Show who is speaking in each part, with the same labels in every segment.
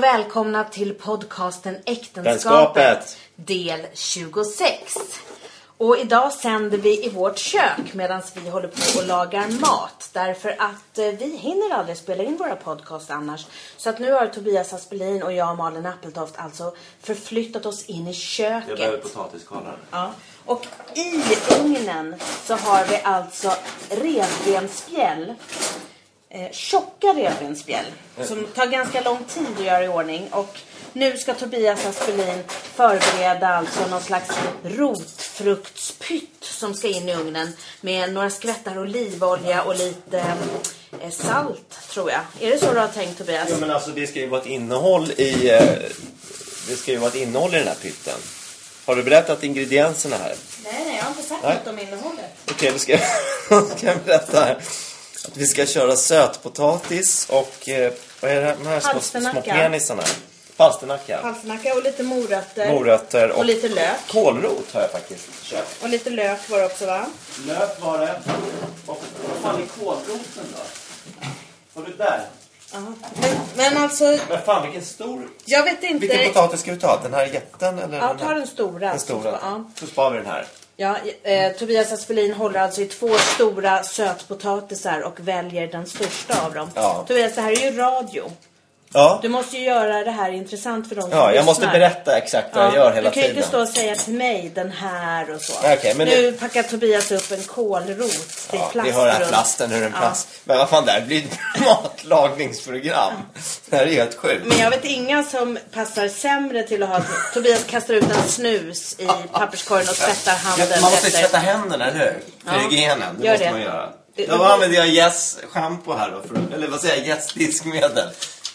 Speaker 1: välkomna till podcasten Äktenskapet
Speaker 2: Äktenskapet.
Speaker 1: del 26. Och idag sänder vi i vårt kök medan vi håller på och lagar mat. Därför att eh, vi hinner aldrig spela in våra podcast annars. Så att nu har Tobias Aspelin och jag Malin Appeltoft alltså förflyttat oss in i köket.
Speaker 2: Jag behöver potatiskalar.
Speaker 1: Ja. Och i ugnen så har vi alltså revbensspjäll. Eh, tjocka revbensspjäll som tar ganska lång tid att göra i ordning. Och nu ska Tobias Aspelin förbereda alltså någon slags rotfruktspytt som ska in i ugnen med några skvättar olivolja och lite eh, salt tror jag. Är det så du har tänkt Tobias?
Speaker 2: Ja, men alltså det ska ju vara ett innehåll i... eh, Det ska ju vara ett innehåll i den här pytten. Har du berättat ingredienserna här?
Speaker 1: Nej, nej, jag har inte sagt
Speaker 2: Nej.
Speaker 1: något om innehållet.
Speaker 2: Okej, då ska, jag- ska jag berätta här. Att vi ska köra sötpotatis och... eh, Vad är det här? De här små, små
Speaker 1: Palsternacka.
Speaker 2: penisarna. Palsternacka.
Speaker 1: Palsternacka och lite morötter.
Speaker 2: Morötter
Speaker 1: Och
Speaker 2: och
Speaker 1: lite lök.
Speaker 2: kålrot har jag faktiskt köpt.
Speaker 1: Och lite lök var det också va?
Speaker 2: Lök var det. Och vad fan är kålroten då? Var du där?
Speaker 1: Men, men alltså,
Speaker 2: Men fan vilken stor...
Speaker 1: jag vet
Speaker 2: Vilken
Speaker 1: inte.
Speaker 2: potatis ska du ta? Den här jätten eller
Speaker 1: Ja,
Speaker 2: den
Speaker 1: ta
Speaker 2: här?
Speaker 1: den stora.
Speaker 2: Den stora.
Speaker 1: Alltså, Ja.
Speaker 2: Så sparar vi den här.
Speaker 1: Ja, eh, Tobias Aspelin håller alltså i två stora sötpotatisar och väljer den största av dem.
Speaker 2: Ja.
Speaker 1: Tobias, det här är ju radio.
Speaker 2: Ja,
Speaker 1: Du måste ju göra det här intressant för de som
Speaker 2: ja jag måste
Speaker 1: lyssnar.
Speaker 2: berätta exakt vad
Speaker 1: Ja,
Speaker 2: jag gör hela
Speaker 1: du kan ju
Speaker 2: tiden.
Speaker 1: inte stå och säga till mig den här och så.
Speaker 2: Nej, okej, men
Speaker 1: nu packar Tobias upp en kålrot. Det är
Speaker 2: ja,
Speaker 1: plast
Speaker 2: vi har den här
Speaker 1: runt.
Speaker 2: plasten, hur den
Speaker 1: Ja.
Speaker 2: plast. Men vad fan, det här blir ett matlagningsprogram. Det här är ju helt sjukt.
Speaker 1: Men jag vet inga som passar sämre till att ha... Tobias kastar ut en snus i papperskorgen och tvättar handen
Speaker 2: Ja, Man måste
Speaker 1: efter.
Speaker 2: tvätta händerna, eller hur? För
Speaker 1: Ja.
Speaker 2: hygienen, det
Speaker 1: Gör
Speaker 2: måste
Speaker 1: det.
Speaker 2: man göra.
Speaker 1: Det-
Speaker 2: Då använder jag Yes shampoo här då, för, att- eller vad säger jag, Yes diskmedel.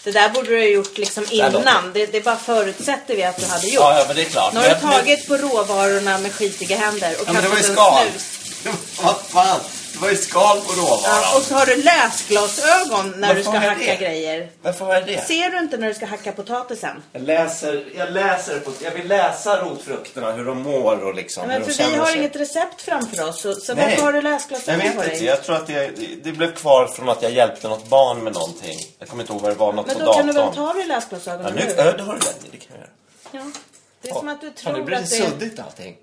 Speaker 1: Det där borde du ha gjort liksom
Speaker 2: här låter-
Speaker 1: innan. Det, det bara förutsätter vi att du hade gjort.
Speaker 2: Ja, ja, men det är klart.
Speaker 1: Nu har du
Speaker 2: Men- men-
Speaker 1: tagit på råvarorna med skitiga händer och
Speaker 2: Ja, men det var ju
Speaker 1: kastat
Speaker 2: skal.
Speaker 1: en snus.
Speaker 2: Vad fan, det var ju skal på
Speaker 1: Ja,
Speaker 2: råvaran.
Speaker 1: och så har du lösglasögon när
Speaker 2: Varför
Speaker 1: du ska
Speaker 2: har jag
Speaker 1: hacka
Speaker 2: det?
Speaker 1: grejer.
Speaker 2: Varför har jag det?
Speaker 1: Ser du inte när du ska hacka potatisen?
Speaker 2: Jag läser, jag läser på, jag vill läsa rotfrukterna, hur de mår och liksom
Speaker 1: Ja,
Speaker 2: hur
Speaker 1: men
Speaker 2: de
Speaker 1: för
Speaker 2: känner
Speaker 1: vi har
Speaker 2: sig.
Speaker 1: inget recept framför oss, så, så
Speaker 2: Nej.
Speaker 1: varför har du
Speaker 2: Jag
Speaker 1: lösglasögon på
Speaker 2: vet
Speaker 1: dig?
Speaker 2: inte, jag tror att det, det blev kvar från att jag hjälpte något barn med någonting. Jag kommer inte ihåg vad det var, något
Speaker 1: Men
Speaker 2: på
Speaker 1: då kan
Speaker 2: datorn.
Speaker 1: du väl ta av dig
Speaker 2: ja,
Speaker 1: lösglasögonen
Speaker 2: nu,
Speaker 1: nu?
Speaker 2: ö, det har du rätt i, det kan jag göra.
Speaker 1: Ja. Det är
Speaker 2: Ja.
Speaker 1: som att du
Speaker 2: Fan, nu
Speaker 1: tror
Speaker 2: blir det
Speaker 1: att det är...
Speaker 2: suddigt allting.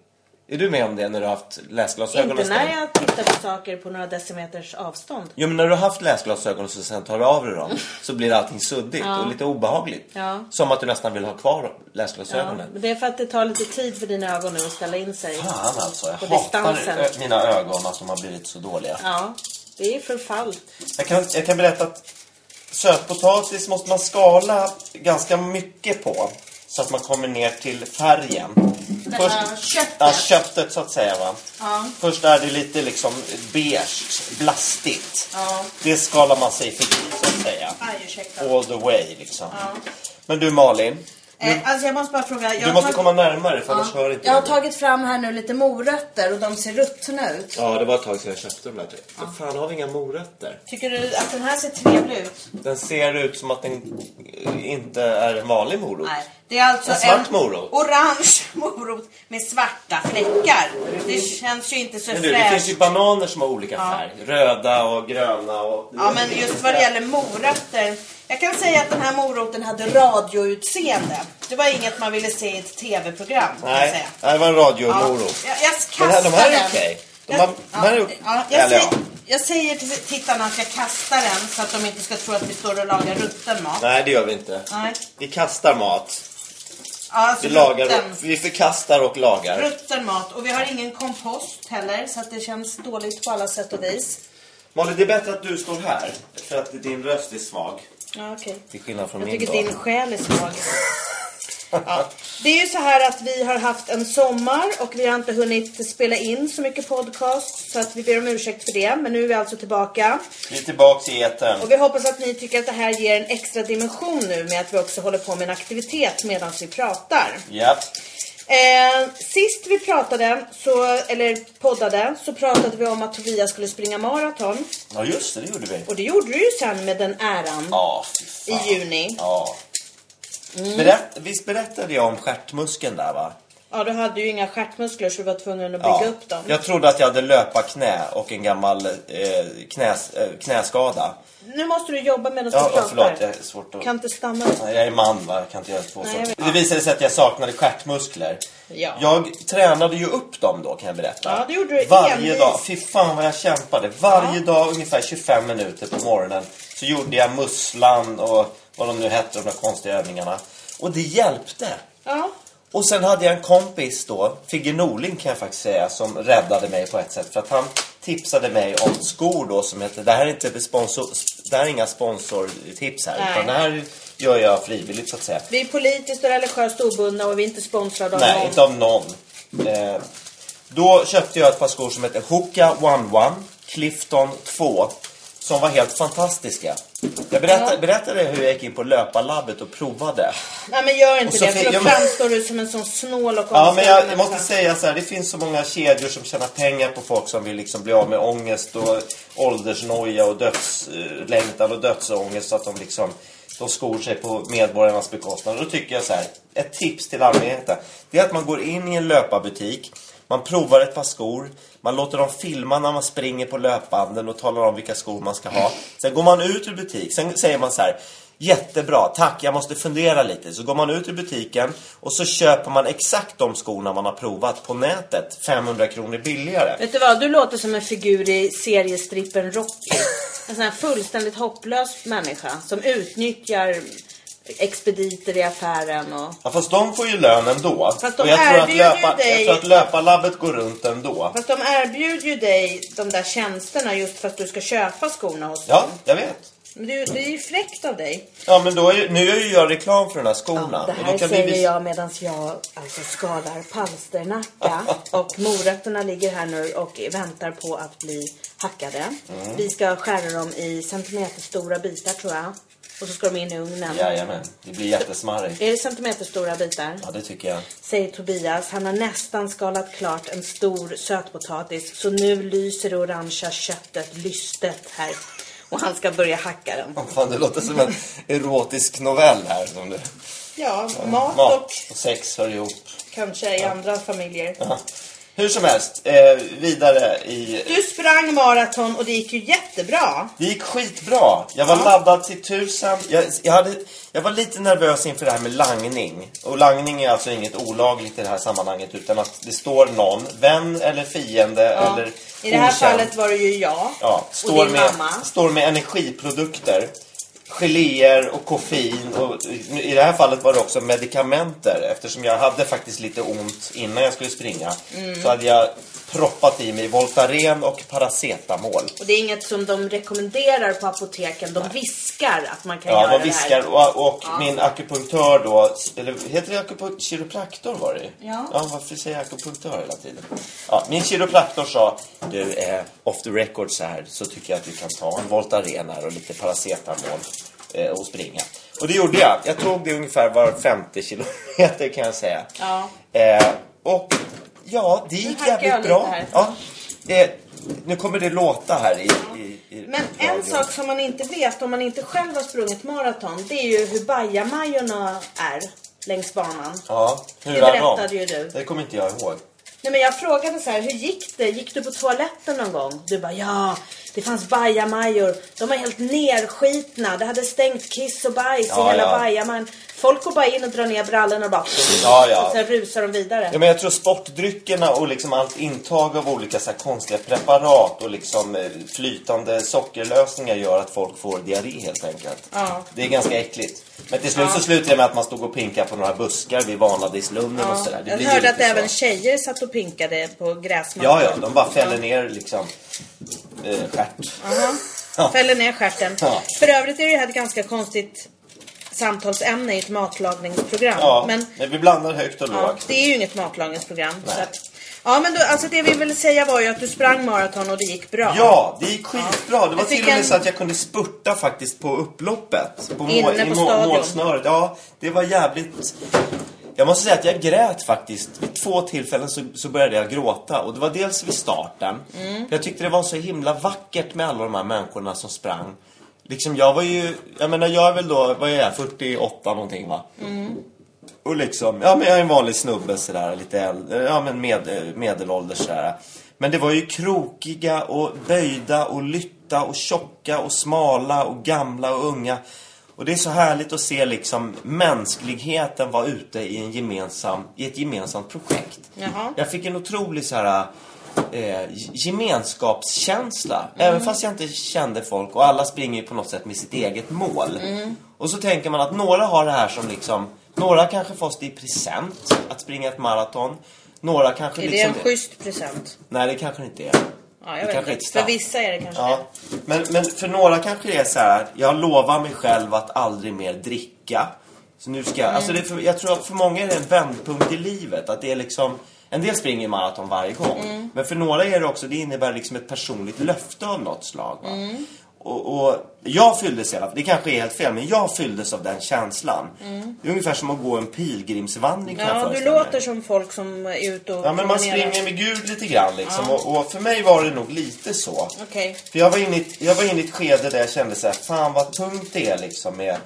Speaker 2: Är du med om det när du har haft läsglasögon?
Speaker 1: Inte
Speaker 2: nästan?
Speaker 1: när jag tittar på saker på några decimeters avstånd.
Speaker 2: Jo men när du har haft läsglasögon och så sen tar du av dig dem så blir allting suddigt och lite obehagligt.
Speaker 1: Ja.
Speaker 2: Som att du nästan vill ha kvar
Speaker 1: Ja,
Speaker 2: läsglasögonen.
Speaker 1: men det är för att det tar lite tid för dina ögon nu att ställa in sig.
Speaker 2: Fan alltså, jag
Speaker 1: På
Speaker 2: hatar
Speaker 1: distansen.
Speaker 2: ö, mina ögon alltså, att de har blivit så dåliga.
Speaker 1: Ja, det är förfall.
Speaker 2: Jag kan, jag kan berätta att sötpotatis måste man skala ganska mycket på. Så att man kommer ner till färgen.
Speaker 1: här köttet.
Speaker 2: Ja, köttet så att säga. Va?
Speaker 1: Ja.
Speaker 2: Först är det lite liksom beige, blastigt.
Speaker 1: Ja.
Speaker 2: Det skalar man sig förbi så att säga.
Speaker 1: Aj, ursäkta.
Speaker 2: All the way liksom. Men du Malin,
Speaker 1: Eh, alltså jag måste bara fråga. Jag
Speaker 2: du måste
Speaker 1: har-
Speaker 2: komma närmare för annars hör
Speaker 1: Ja,
Speaker 2: inte
Speaker 1: jag har
Speaker 2: du.
Speaker 1: tagit fram här nu lite morötter och de ser ruttna ut.
Speaker 2: Ja, det var ett tag sedan jag köpte de där. Ja. Fan, har vi inga morötter?
Speaker 1: Tycker du att den här ser trevlig ut?
Speaker 2: Den ser ut som att den eh, inte är en vanlig morot.
Speaker 1: Nej. Det är alltså
Speaker 2: En svart morot.
Speaker 1: orange morot med svarta fläckar. Det känns ju inte så
Speaker 2: Men du, det finns
Speaker 1: fräscht.
Speaker 2: ju bananer som har olika färg. Röda och gröna och...
Speaker 1: Ja, men just vad det gäller morötter. Jag kan säga att den här moroten hade radioutseende. Det var inget man ville se i ett tv-program. kan jag
Speaker 2: Nej,
Speaker 1: säga.
Speaker 2: nej, det var en radiomorot.
Speaker 1: Ja, jag, jag
Speaker 2: Men här-
Speaker 1: kastar
Speaker 2: de här är
Speaker 1: den.
Speaker 2: okej. De
Speaker 1: Jag-
Speaker 2: har- de här är
Speaker 1: ja,
Speaker 2: okej.
Speaker 1: ja, jag,
Speaker 2: Eller ja.
Speaker 1: säger, jag säger till tittarna att jag kastar den så att de inte ska tro att vi står och lagar rutten mat.
Speaker 2: Nej, det gör vi inte.
Speaker 1: Nej.
Speaker 2: Vi kastar mat.
Speaker 1: Ja, alltså
Speaker 2: Vi, lagar
Speaker 1: rutten,
Speaker 2: och, vi förkastar och lagar.
Speaker 1: rutten mat. Och vi har ingen kompost heller så att det känns dåligt på alla sätt och vis.
Speaker 2: Molly, det är bättre att du står här. För att din röst är svag.
Speaker 1: Ja, okej.
Speaker 2: Till skillnad från
Speaker 1: Jag
Speaker 2: min
Speaker 1: tycker
Speaker 2: då.
Speaker 1: din själ är svag. Ja. Det är ju så här att vi har haft en sommar och vi har inte hunnit spela in så mycket podcast så att vi ber om ursäkt för det. Men nu är vi alltså tillbaka.
Speaker 2: Vi är tillbaks i etern.
Speaker 1: Och vi hoppas att ni tycker att det här ger en extra dimension nu med att vi också håller på med en aktivitet medan vi pratar.
Speaker 2: Japp.
Speaker 1: Eh, sist vi pratade, så, eller poddade, så pratade vi om att Tobias skulle springa maraton.
Speaker 2: Ja, just det. Det gjorde vi.
Speaker 1: Och det gjorde du ju sen med den äran
Speaker 2: Ja, fy fan.
Speaker 1: i juni. Mm.
Speaker 2: Ja. Berätt, visst berättade jag om stjärtmuskeln där, va?
Speaker 1: Ja, du hade ju inga stjärtmuskler så du var tvungen att bygga upp dem.
Speaker 2: Jag trodde att jag hade löparknä och en gammal eh, knäs, eh, knäskada.
Speaker 1: Nu måste du jobba medan
Speaker 2: Ja,
Speaker 1: du
Speaker 2: ja,
Speaker 1: pratar.
Speaker 2: förlåt, jag är svårt att...
Speaker 1: Kan inte stamma.
Speaker 2: Nej, Jag är man va, jag kan inte göra två
Speaker 1: Nej, jag
Speaker 2: saker.
Speaker 1: vet.
Speaker 2: Det visade sig att jag saknade stjärtmuskler.
Speaker 1: Ja.
Speaker 2: Jag tränade ju upp dem då kan jag berätta.
Speaker 1: Ja, det gjorde du
Speaker 2: Varje
Speaker 1: envist.
Speaker 2: dag, fy fan vad jag kämpade. Varje dag ungefär 25 minuter på morgonen så gjorde jag musslan och vad de nu hette, de där konstiga övningarna. Och det hjälpte.
Speaker 1: Ja.
Speaker 2: Och sen hade jag en kompis då, Figge Norling kan jag faktiskt säga, som räddade mig på ett sätt. För att han tipsade mig om skor då som heter, det här är inte sponsor, det här är inga sponsortips här.
Speaker 1: Nej.
Speaker 2: Utan det här gör jag frivilligt så att säga.
Speaker 1: Vi är politiskt och religiöst obundna och vi är inte sponsrade av
Speaker 2: Nej,
Speaker 1: någon.
Speaker 2: inte av någon. Eh, då köpte jag ett par skor som heter Hoka One One Clifton 2. Som var helt fantastiska. Jag berättade,
Speaker 1: Ja.
Speaker 2: berättade hur jag gick in på löparlabbet och provade.
Speaker 1: Nej men gör inte
Speaker 2: Och så
Speaker 1: det
Speaker 2: fick-
Speaker 1: för då
Speaker 2: ja, men-
Speaker 1: framstår du som en sån snål och
Speaker 2: Ja, men jag,
Speaker 1: omständig
Speaker 2: jag måste
Speaker 1: människa.
Speaker 2: säga så här, det finns så många kedjor som tjänar pengar på folk som vill liksom bli av med ångest och åldersnoja och dödslängtan och dödsångest så att de liksom de skor sig på medborgarnas bekostnad. Och Då tycker jag så här, ett tips till allmänheten. Det är att man går in i en löparbutik, man provar ett par skor, man låter dem filma när man springer på löpbanden och talar om vilka skor man ska ha. Sen går man ut ur butik, sen säger man så här, Jättebra, tack. Jag måste fundera lite. Så går man ut ur butiken och så köper man exakt de skorna man har provat på nätet 500 kronor billigare.
Speaker 1: Vet du vad, du låter som en figur i seriestrippen Rocky. En sån här fullständigt hopplös människa som utnyttjar expediter i affären och...
Speaker 2: Ja, fast de får ju lön ändå.
Speaker 1: Fast de
Speaker 2: och jag tror, att
Speaker 1: erbjuder ju
Speaker 2: löpa, jag
Speaker 1: dig-
Speaker 2: tror att löparlabbet går runt ändå.
Speaker 1: Fast de erbjuder ju dig de där tjänsterna just för att du ska köpa skorna hos
Speaker 2: Ja,
Speaker 1: dem.
Speaker 2: jag vet.
Speaker 1: Men det är ju- det är ju fräckt av dig.
Speaker 2: Ja, men då är, ju- nu gör ju jag reklam för de här skorna.
Speaker 1: Det
Speaker 2: och
Speaker 1: här
Speaker 2: då kan vi
Speaker 1: säger
Speaker 2: vis-
Speaker 1: jag medan jag alltså skalar palsternacka och morötterna ligger här nu och väntar på att bli hackade.
Speaker 2: Mm.
Speaker 1: Vi ska skära dem i centimeterstora bitar tror jag. Och så ska de in i ugnen.
Speaker 2: Jajamän, det blir jättesmarrigt.
Speaker 1: Är det centimeterstora bitar?
Speaker 2: Ja, det tycker jag.
Speaker 1: Säger Tobias. Han har nästan skalat klart en stor sötpotatis. Så nu lyser det orangea köttet lystet här. Och han ska börja hacka den.
Speaker 2: Åh, Fan, det låter som en erotisk novell här. Som du...
Speaker 1: Ja, mat, och
Speaker 2: Mat och sex hör ihop.
Speaker 1: kanske i andra familjer.
Speaker 2: Ja. Hur som helst, eh, vidare i
Speaker 1: Du sprang maraton och det gick ju jättebra.
Speaker 2: Det gick skitbra. Jag var laddad till tusen. Jag, jag, hade, jag var lite nervös inför det här med langning. Och langning är alltså inget olagligt i det här sammanhanget utan att det står någon, vän eller fiende
Speaker 1: Ja.
Speaker 2: eller
Speaker 1: I det här
Speaker 2: okänd.
Speaker 1: fallet var det ju jag
Speaker 2: ja, står
Speaker 1: och din
Speaker 2: med,
Speaker 1: mamma.
Speaker 2: Står med energiprodukter, geléer och koffein. Och, I det här fallet var det också medicamenter eftersom jag hade faktiskt lite ont innan jag skulle springa.
Speaker 1: Mm.
Speaker 2: Så hade jag proppat i mig Voltaren och Paracetamol.
Speaker 1: Och det är inget som de rekommenderar på apoteken. De viskar att man kan
Speaker 2: Ja,
Speaker 1: göra
Speaker 2: man
Speaker 1: det
Speaker 2: viskar
Speaker 1: här.
Speaker 2: och, och min akupunktör då, eller heter det akupunktör? Kiropraktor var det ju.
Speaker 1: Ja.
Speaker 2: ja. Varför säger jag akupunktör hela tiden? Ja, min kiropraktor sa, du eh, off the record så här så tycker jag att du kan ta en Voltaren här och lite paracetamol eh, och springa. Och det gjorde jag. Jag tog det ungefär var 50 kilometer kan jag säga.
Speaker 1: Ja.
Speaker 2: Eh, och ja, det gick
Speaker 1: hackar jag
Speaker 2: jävligt
Speaker 1: lite
Speaker 2: bra.
Speaker 1: här.
Speaker 2: Ja, det, nu kommer det låta här i, i, i
Speaker 1: Men en
Speaker 2: radion.
Speaker 1: sak som man inte vet om man inte själv har sprungit maraton. Det är ju hur bajamajorna är längs banan.
Speaker 2: Ja, hur
Speaker 1: Det
Speaker 2: är
Speaker 1: berättade ju du.
Speaker 2: Det kommer inte jag ihåg.
Speaker 1: Nej, men jag frågade så här, hur gick det? Gick du på toaletten någon gång? Du bara, ja, det fanns bajamajor. De var helt nerskitna. Det hade stängt kiss och bajs
Speaker 2: Ja,
Speaker 1: i hela
Speaker 2: ja.
Speaker 1: bajamajan. Folk går bara in och drar ner brallorna och bara...
Speaker 2: Ja, ja.
Speaker 1: Och sen rusar de vidare.
Speaker 2: Ja, men jag tror sportdryckerna och liksom allt intag av olika så här konstiga preparat och liksom eh, flytande sockerlösningar gör att folk får diarré helt enkelt.
Speaker 1: Ja.
Speaker 2: Det är ganska äckligt. Men till slut så slutar det med att man stod och pinkade på några buskar vid Vanadislunden och sådär. Det
Speaker 1: jag
Speaker 2: blir ju
Speaker 1: hörde att
Speaker 2: lite
Speaker 1: även
Speaker 2: så.
Speaker 1: tjejer satt och pinkade på gräsmattan.
Speaker 2: Ja, ja, de bara fäller ner liksom eh, stjärt.
Speaker 1: Ja. Fäller ner stjärten.
Speaker 2: Ja.
Speaker 1: För övrigt är det här ett ganska konstigt samtalsämne i ett matlagningsprogram.
Speaker 2: Ja,
Speaker 1: Men
Speaker 2: men... vi blandar högt och
Speaker 1: Ja,
Speaker 2: lågt.
Speaker 1: det är ju inget matlagningsprogram.
Speaker 2: Nej.
Speaker 1: Så att, ja, men då, alltså det vi ville säga var ju att du sprang maraton och det gick bra.
Speaker 2: Ja, det gick skitbra. Det var
Speaker 1: Jag fick
Speaker 2: till och med
Speaker 1: en-
Speaker 2: så att jag kunde spurta faktiskt på upploppet. På
Speaker 1: Inne
Speaker 2: i
Speaker 1: på stadion.
Speaker 2: målsnöret. Ja, det var jävligt... Jag måste säga att jag grät faktiskt. Vid två tillfällen så, så började jag gråta. Och det var dels vid starten.
Speaker 1: Mm.
Speaker 2: Jag tyckte det var så himla vackert med alla de här människorna som sprang. Liksom jag var ju, jag menar jag är väl då, vad är jag, 48 någonting va? Och liksom, ja men jag är en vanlig snubbe sådär, lite äldre, ja men med, medelålders sådär. Men det var ju krokiga och böjda och lytta och tjocka och smala och gamla och unga. Och det är så härligt att se liksom mänskligheten vara ute i, en gemensam, i ett gemensamt projekt.
Speaker 1: Jaha.
Speaker 2: Jag fick en otrolig så här, eh, gemenskapskänsla.
Speaker 1: Mm.
Speaker 2: Även fast jag inte kände folk och alla springer ju på något sätt med sitt eget mål.
Speaker 1: Mm.
Speaker 2: Och så tänker man att några har det här som liksom, några kanske fått det i present att springa ett maraton. Några kanske
Speaker 1: Är det
Speaker 2: liksom...
Speaker 1: en schysst present?
Speaker 2: Nej, det kanske det inte är.
Speaker 1: Ja,
Speaker 2: Det
Speaker 1: jag vet
Speaker 2: kanske är ett
Speaker 1: inte.
Speaker 2: straff.
Speaker 1: För vissa är det kanske
Speaker 2: Ja. Men, men för några kanske det är så här, jag lovar mig själv att aldrig mer dricka. Så nu ska jag,
Speaker 1: Mm.
Speaker 2: alltså det är för, jag tror att för många är det en vändpunkt i livet. Att det är liksom, en del springer maraton varje gång.
Speaker 1: Mm.
Speaker 2: Men för några är det också, det innebär liksom ett personligt löfte av något slag. Va?
Speaker 1: Mm.
Speaker 2: Och, och jag fylldes i alla fall, det kanske är helt fel, men jag fylldes av den känslan. Det är ungefär som att gå en pilgrimsvandring
Speaker 1: det.
Speaker 2: kan jag
Speaker 1: Mm. Ja, du
Speaker 2: föreställa mig.
Speaker 1: låter som folk som är ute och
Speaker 2: Ja, men man
Speaker 1: promenerar.
Speaker 2: springer med Gud lite grann liksom. Och, och för mig var det nog lite så.
Speaker 1: Okej.
Speaker 2: För jag var, inne i, ett- jag var inne i ett skede där jag kände så här, fan vad tungt det är liksom med,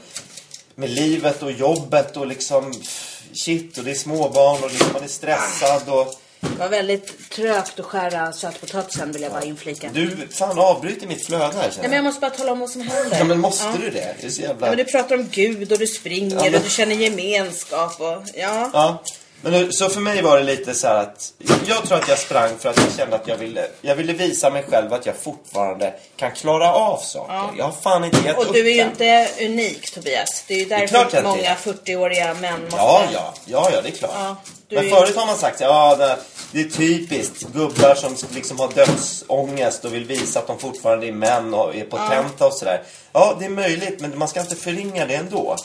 Speaker 2: med livet och jobbet och liksom pff, shit och det är småbarn och liksom, man är stressad och
Speaker 1: Det var väldigt trögt att skära sötpotatisen vill jag bara inflika.
Speaker 2: du fan avbryter mitt flöde här
Speaker 1: Nej,
Speaker 2: känner
Speaker 1: men
Speaker 2: jag.
Speaker 1: jag måste bara tala om vad som händer.
Speaker 2: Ja men måste
Speaker 1: Ja.
Speaker 2: du det? Det är så
Speaker 1: Ja,
Speaker 2: jävla...
Speaker 1: men du pratar om Gud och du springer
Speaker 2: Ja, men-
Speaker 1: och du känner gemenskap och ja.
Speaker 2: Ja. Men nu, så för mig var det lite så här att jag tror att jag sprang för att jag kände att jag ville, jag ville visa mig själv att jag fortfarande kan klara av saker. Jag har fan inte gett
Speaker 1: Och
Speaker 2: upp
Speaker 1: du är ju
Speaker 2: än.
Speaker 1: inte unik Tobias. Det är ju
Speaker 2: klart
Speaker 1: därför
Speaker 2: jag inte
Speaker 1: många
Speaker 2: är.
Speaker 1: 40-åriga män måste...
Speaker 2: Ja, ja, ja, ja, det är klart.
Speaker 1: Ja, du är
Speaker 2: Men
Speaker 1: ju-
Speaker 2: förut har man sagt ja, det, det är typiskt gubbar som liksom har dödsångest och vill visa att de fortfarande är män och är potenta och sådär. Ja, det är möjligt, men man ska inte förringa det ändå.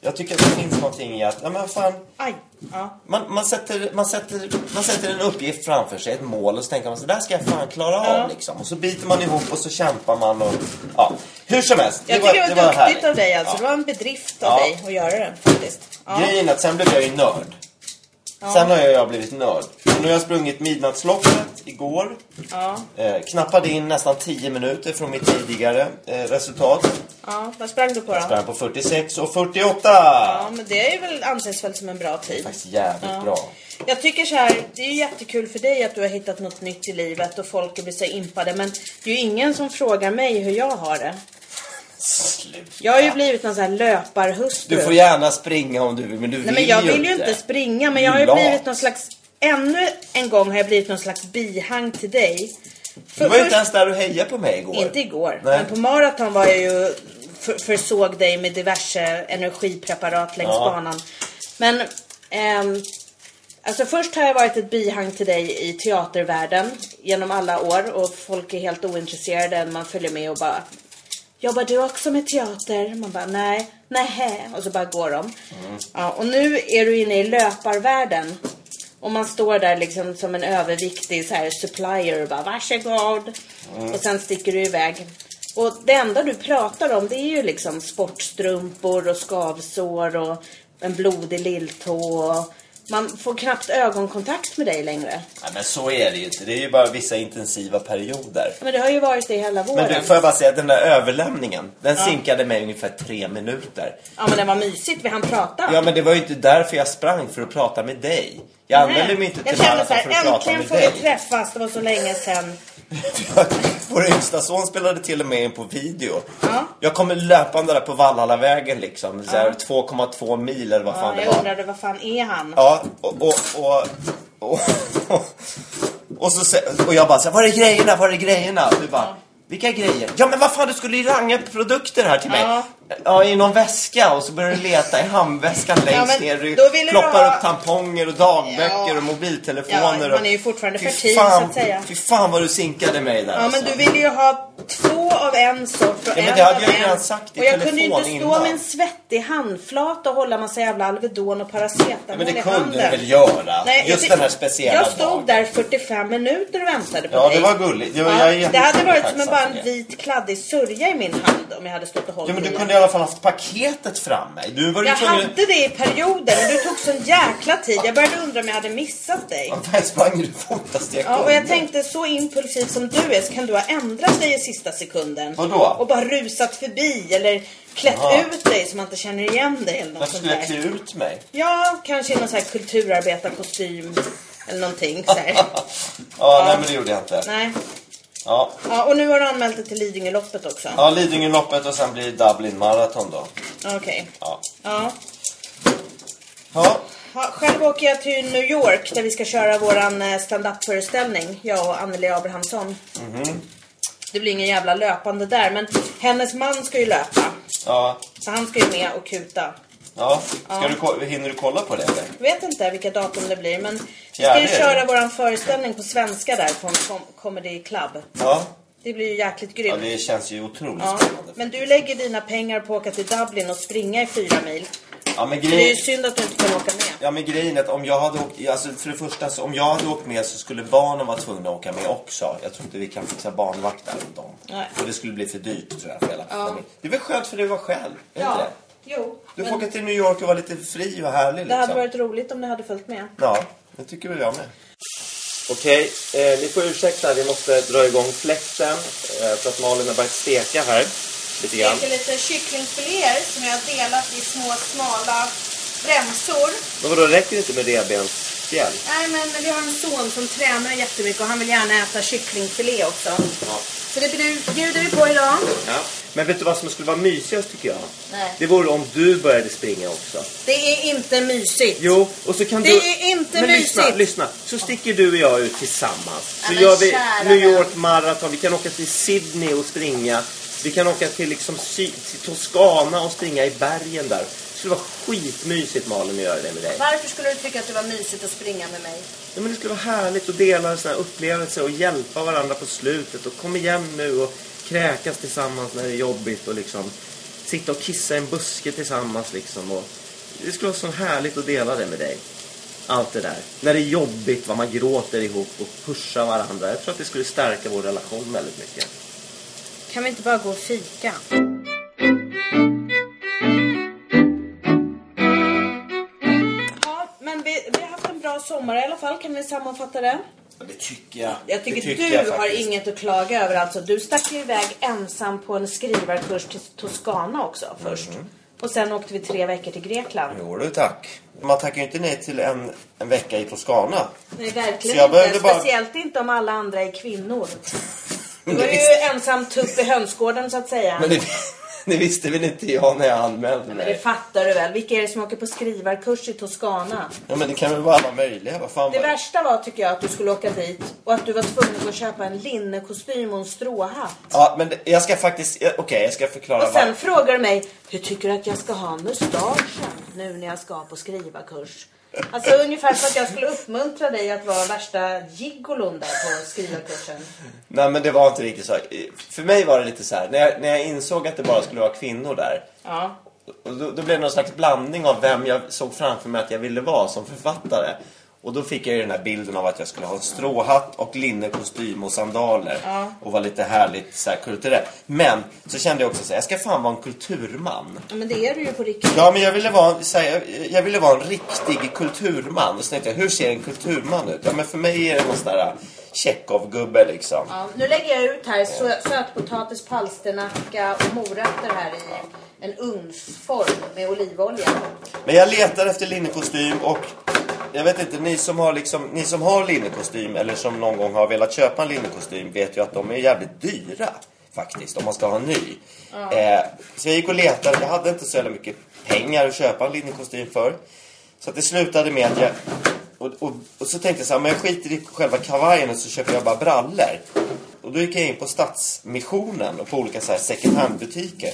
Speaker 2: Jag tycker att det finns någonting i att, ja men fan,
Speaker 1: Aj. Ja.
Speaker 2: man, man, sätter, man, sätter, man sätter en uppgift framför sig, ett mål och så tänker man så där ska jag fan klara av liksom. Och så biter man ihop och så kämpar man och, ja. Hur som helst,
Speaker 1: Jag tycker det var, duktigt
Speaker 2: härligt.
Speaker 1: av dig alltså.
Speaker 2: Ja.
Speaker 1: Det var en bedrift av
Speaker 2: Ja.
Speaker 1: dig att göra den faktiskt. Ja.
Speaker 2: Grejen är att sen blev jag ju nörd. Sen har jag, jag blivit nörd. Och Nu har jag sprungit Midnattsloppet igår.
Speaker 1: Ja.
Speaker 2: Eh, knappade in nästan 10 minuter från mitt tidigare eh, resultat.
Speaker 1: ja. Vad sprang du på då?
Speaker 2: Sprang på 46 och 48!
Speaker 1: Ja, men det är ju väl, anses väl som en bra tid.
Speaker 2: Faktiskt jävligt
Speaker 1: Ja.
Speaker 2: bra.
Speaker 1: Jag tycker så här, det är ju jättekul för dig att du har hittat något nytt i livet och folk blir så impade. Men det är ju ingen som frågar mig hur jag har det.
Speaker 2: Slut.
Speaker 1: Jag har ju blivit någon sån här löparhustru.
Speaker 2: Du får gärna springa om du vill, men du
Speaker 1: Nej,
Speaker 2: vill
Speaker 1: men jag
Speaker 2: ju
Speaker 1: vill ju inte springa, men jag har ju
Speaker 2: Du är lat.
Speaker 1: blivit någon slags... Ännu en gång har jag blivit någon slags bihang till dig. För,
Speaker 2: Du var ju
Speaker 1: först-
Speaker 2: inte ens där och hejade på mig igår.
Speaker 1: inte igår,
Speaker 2: Nej.
Speaker 1: men på maraton var jag ju... För, försåg dig med diverse energipreparat längs
Speaker 2: Ja.
Speaker 1: banan. Men... ehm, alltså först har jag varit ett bihang till dig i teatervärlden genom alla år och folk är helt ointresserade. Man följer med och bara... Jobbar du också med teater? Man bara nej, nej. Och så bara går de.
Speaker 2: Mm.
Speaker 1: Ja, och nu är du inne i löparvärlden. Och man står där liksom som en överviktig så här supplier och bara varsågod.
Speaker 2: Mm.
Speaker 1: Och sen sticker du iväg. Och det enda du pratar om det är ju liksom sportstrumpor och skavsår och en blodig lilltå. och Man får knappt ögonkontakt med dig längre.
Speaker 2: Nej, men så är det ju inte. Det är ju bara vissa intensiva perioder.
Speaker 1: Men det har ju varit det hela våren.
Speaker 2: Men du, får jag bara säga att den där överlämningen, den sinkade mig ungefär tre minuter.
Speaker 1: Ja men det var mysigt, vi hann prata.
Speaker 2: Ja men det var ju inte därför jag sprang, för att prata med dig. Jag använde mig inte
Speaker 1: jag
Speaker 2: till
Speaker 1: kände så
Speaker 2: maraton
Speaker 1: här,
Speaker 2: för att prata
Speaker 1: äntligen
Speaker 2: med
Speaker 1: får vi
Speaker 2: dig.
Speaker 1: träffas, det var så länge sedan.
Speaker 2: Vår yngsta son spelade till och med in på video.
Speaker 1: Ja.
Speaker 2: Jag kommer löpande där på Vallhallavägen liksom, så här 2,2 mil eller vad fan
Speaker 1: Ja,
Speaker 2: det
Speaker 1: jag
Speaker 2: var.
Speaker 1: undrade, vad fan är han?
Speaker 2: Ja, och, och, och, och, och, och, så, sä- och jag bara så här, var är grejerna, var är grejerna? Du bara, vilka grejer? Ja men vad fan, du skulle ju ranga produkter här till mig.
Speaker 1: Ja.
Speaker 2: Ja. i någon väska och så började du leta i handväskan längst
Speaker 1: men
Speaker 2: ner. Du
Speaker 1: då ville du
Speaker 2: ploppar
Speaker 1: ha-
Speaker 2: upp tamponger och dagböcker
Speaker 1: Ja.
Speaker 2: och mobiltelefoner.
Speaker 1: Ja,
Speaker 2: och-
Speaker 1: man är ju fortfarande
Speaker 2: Fy
Speaker 1: fertil, så
Speaker 2: fan,
Speaker 1: att säga.
Speaker 2: Fy fan vad du sinkade mig där alltså.
Speaker 1: Ja, men du ville ju ha två av en sort och
Speaker 2: Ja, men
Speaker 1: en
Speaker 2: det hade
Speaker 1: av
Speaker 2: jag ju
Speaker 1: en.
Speaker 2: redan sagt i
Speaker 1: Och jag kunde ju
Speaker 2: telefon
Speaker 1: inte stå
Speaker 2: innan.
Speaker 1: med en svettig handflata och hålla massa jävla Alvedon och Paracetamol
Speaker 2: Ja, men det
Speaker 1: i
Speaker 2: kunde
Speaker 1: handen.
Speaker 2: du väl göra?
Speaker 1: Nej,
Speaker 2: Just
Speaker 1: jag-
Speaker 2: den här speciella
Speaker 1: Jag stod
Speaker 2: dagen.
Speaker 1: där 45 minuter och väntade på
Speaker 2: Ja,
Speaker 1: dig.
Speaker 2: det var gulligt. Det, var,
Speaker 1: Ja,
Speaker 2: jag är jätte-
Speaker 1: det hade varit som
Speaker 2: tacksam
Speaker 1: en, bara
Speaker 2: för det.
Speaker 1: en vit kladdig sörja i min hand om jag hade stått och hållit
Speaker 2: Ja, men du
Speaker 1: i den.
Speaker 2: kunde i alla fall haft paketet framme. Du var ju
Speaker 1: Jag
Speaker 2: tvungen...
Speaker 1: hade det i perioder men du tog sån jäkla tid. Jag började undra om jag hade missat dig.
Speaker 2: Här sprang du fortast jag
Speaker 1: Ja, och
Speaker 2: kunde.
Speaker 1: jag tänkte så impulsiv som du är så kan du ha ändrat dig i sista sekunden.
Speaker 2: Vadå?
Speaker 1: Och bara rusat förbi eller klätt
Speaker 2: Jaha.
Speaker 1: ut dig så man inte känner igen dig eller något
Speaker 2: Varför
Speaker 1: sånt
Speaker 2: skulle jag klä
Speaker 1: där.
Speaker 2: ut mig?
Speaker 1: Ja, kanske i någon sån här kulturarbetarkostym eller någonting så här.
Speaker 2: ja, nej men det gjorde jag inte.
Speaker 1: Nej.
Speaker 2: Ja,
Speaker 1: Ja, och nu har du anmält dig till Lidingöloppet också.
Speaker 2: ja Lidingöloppet och sen blir det Dublin Marathon då.
Speaker 1: Okej.
Speaker 2: Ja.
Speaker 1: Ja.
Speaker 2: ja,
Speaker 1: Ja, själv åker jag till New York där vi ska köra våran eh, stand-up-föreställning, jag och Anneli Abrahamsson.
Speaker 2: Mhm.
Speaker 1: Det blir ingen jävla löpande där, men hennes man ska ju löpa.
Speaker 2: ja,
Speaker 1: Så han ska ju med och kuta.
Speaker 2: ja. Ska Du, ko- hinner du kolla på det eller?
Speaker 1: Vet inte vilka datum det blir, men vi ska ju
Speaker 2: Fjärde,
Speaker 1: köra
Speaker 2: eller?
Speaker 1: våran föreställning på svenska där på en com- comedy club.
Speaker 2: Ja.
Speaker 1: Det blir ju jäkligt
Speaker 2: ja,
Speaker 1: grymt.
Speaker 2: det känns ju otroligt
Speaker 1: Ja,
Speaker 2: spännande.
Speaker 1: men du lägger dina pengar på att åka till Dublin och springa i fyra mil.
Speaker 2: Ja, men
Speaker 1: Det är ju
Speaker 2: grej...
Speaker 1: synd att du inte kan åka med.
Speaker 2: Ja men grejen är att om jag hade åkt, alltså för det första så om jag hade åkt med så skulle barnen vara tvungna att åka med också. Jag tror inte vi kan fixa barnvakt där åt dem.
Speaker 1: Nej.
Speaker 2: Och det skulle bli för dyrt tror jag för hela familjen. Det är väl skönt för dig att vara själv? Är inte det?
Speaker 1: jo.
Speaker 2: Du får
Speaker 1: men-
Speaker 2: åka till New York och vara lite fri och härlig
Speaker 1: Det
Speaker 2: liksom.
Speaker 1: hade varit roligt om ni hade följt med.
Speaker 2: Ja, det tycker väl jag med. Okej, eh, ni får ursäkta. Vi måste dra igång fläkten eh, för att Malin har börjat steka här. Lite grann.
Speaker 3: steker lite kycklingfiléer som jag har delat i små smala remsor.
Speaker 2: Men vadå, räcker det inte med revbensspjäll?
Speaker 1: Nej, men vi har en son som tränar jättemycket och han vill gärna äta kycklingfilé också.
Speaker 2: Ja.
Speaker 1: Så det bjuder- bjuder vi på idag.
Speaker 2: ja. Men vet du vad som skulle vara mysigast tycker jag?
Speaker 1: Nej.
Speaker 2: Det vore om du började springa också.
Speaker 1: Det är inte mysigt.
Speaker 2: Jo, och så kan
Speaker 1: Det
Speaker 2: du...
Speaker 1: är inte
Speaker 2: Men lyssna,
Speaker 1: mysigt.
Speaker 2: lyssna. Så sticker du och jag ut tillsammans. Så
Speaker 3: men
Speaker 2: gör vi
Speaker 3: kära
Speaker 2: New
Speaker 3: vän.
Speaker 2: York Marathon. Vi kan åka till Sydney och springa. Vi kan åka till, liksom, Sy- till Toscana och springa i bergen där. Det skulle vara skitmysigt Malin att göra det med dig.
Speaker 1: Varför skulle du tycka att det var mysigt att springa med mig?
Speaker 2: Ja, men det skulle vara härligt att dela såna här upplevelser och hjälpa varandra på slutet. Och kom igen nu och kräkas tillsammans när det är jobbigt och liksom sitta och kissa i en buske tillsammans liksom. Och det skulle vara så härligt att dela det med dig. Allt det där. När det är jobbigt, vad man gråter ihop och pushar varandra. Jag tror att det skulle stärka vår relation väldigt mycket.
Speaker 1: Kan vi inte bara gå och fika? Ja, Men vi, vi har haft en bra sommar i alla fall, kan vi sammanfatta det?
Speaker 2: Det tycker jag.
Speaker 1: Jag tycker, du har inget att klaga över alltså. Du stack ju iväg ensam på en skrivarkurs till Toscana också först.
Speaker 2: Mhm.
Speaker 1: Och sen åkte vi tre veckor till Grekland.
Speaker 2: Jo du tack. Man tackar ju inte nej till en, en vecka i Toscana.
Speaker 1: Nej,
Speaker 2: Så jag
Speaker 1: verkligen inte.
Speaker 2: behövde bara-
Speaker 1: Speciellt inte om alla andra är kvinnor. Du var ju ensam tupp i hönsgården så att säga.
Speaker 2: Men det, det visste väl inte jag när jag anmälde
Speaker 1: Det
Speaker 2: mig?
Speaker 1: fattar du väl? Vilka är det som åker på skrivarkurs i Toscana?
Speaker 2: Ja men det kan väl vara alla möjliga, vad fan
Speaker 1: Det
Speaker 2: var det?
Speaker 1: värsta var tycker jag att du skulle åka dit och att du var tvungen att köpa en linnekostym och en stråhatt.
Speaker 2: Ja men det- jag ska faktiskt, ja, okej jag ska förklara
Speaker 1: Och sen
Speaker 2: vad-
Speaker 1: frågar du mig, hur tycker du att jag ska ha mustaschen nu när jag ska på skrivarkurs? Alltså ungefär för att jag skulle uppmuntra dig att vara värsta gigolon där på skrivarkursen.
Speaker 2: Nej men det var inte riktigt så. För mig var det lite så här. när jag, när jag insåg att det bara skulle vara kvinnor där.
Speaker 1: Ja.
Speaker 2: Och då, då blev det någon slags blandning av vem jag såg framför mig att jag ville vara som författare. Och då fick jag ju den här bilden av att jag skulle ha en stråhatt och linnekostym och sandaler. Och vara lite härligt så här, kulturell. Men så kände jag också så här, jag ska fan vara en kulturman.
Speaker 1: Men det är du ju på riktigt.
Speaker 2: Ja, men jag ville vara, så här, jag- jag ville vara en riktig kulturman. Och så tänkte jag, hur ser en kulturman ut? Ja, men för mig är det någon sån där äh, Tjechov-gubbe liksom.
Speaker 1: Ja, nu lägger jag ut här sö- sötpotatis, palsternacka och morötter här i en ugnsform med olivolja.
Speaker 2: Men jag letar efter linnekostym och jag vet inte, ni som har, liksom, ni som har linnekostym eller som någon gång har velat köpa en linnekostym vet ju att de är jävligt dyra faktiskt om man ska ha en ny. Eh, så jag gick och letade, jag hade inte så jävla mycket pengar att köpa en linnekostym för. Så att det slutade med att jag... Och, och, och så tänkte jag så här, men jag skiter i själva kavajen och så köper jag bara brallor. Och då gick jag in på Stadsmissionen och på olika så här second hand-butiker.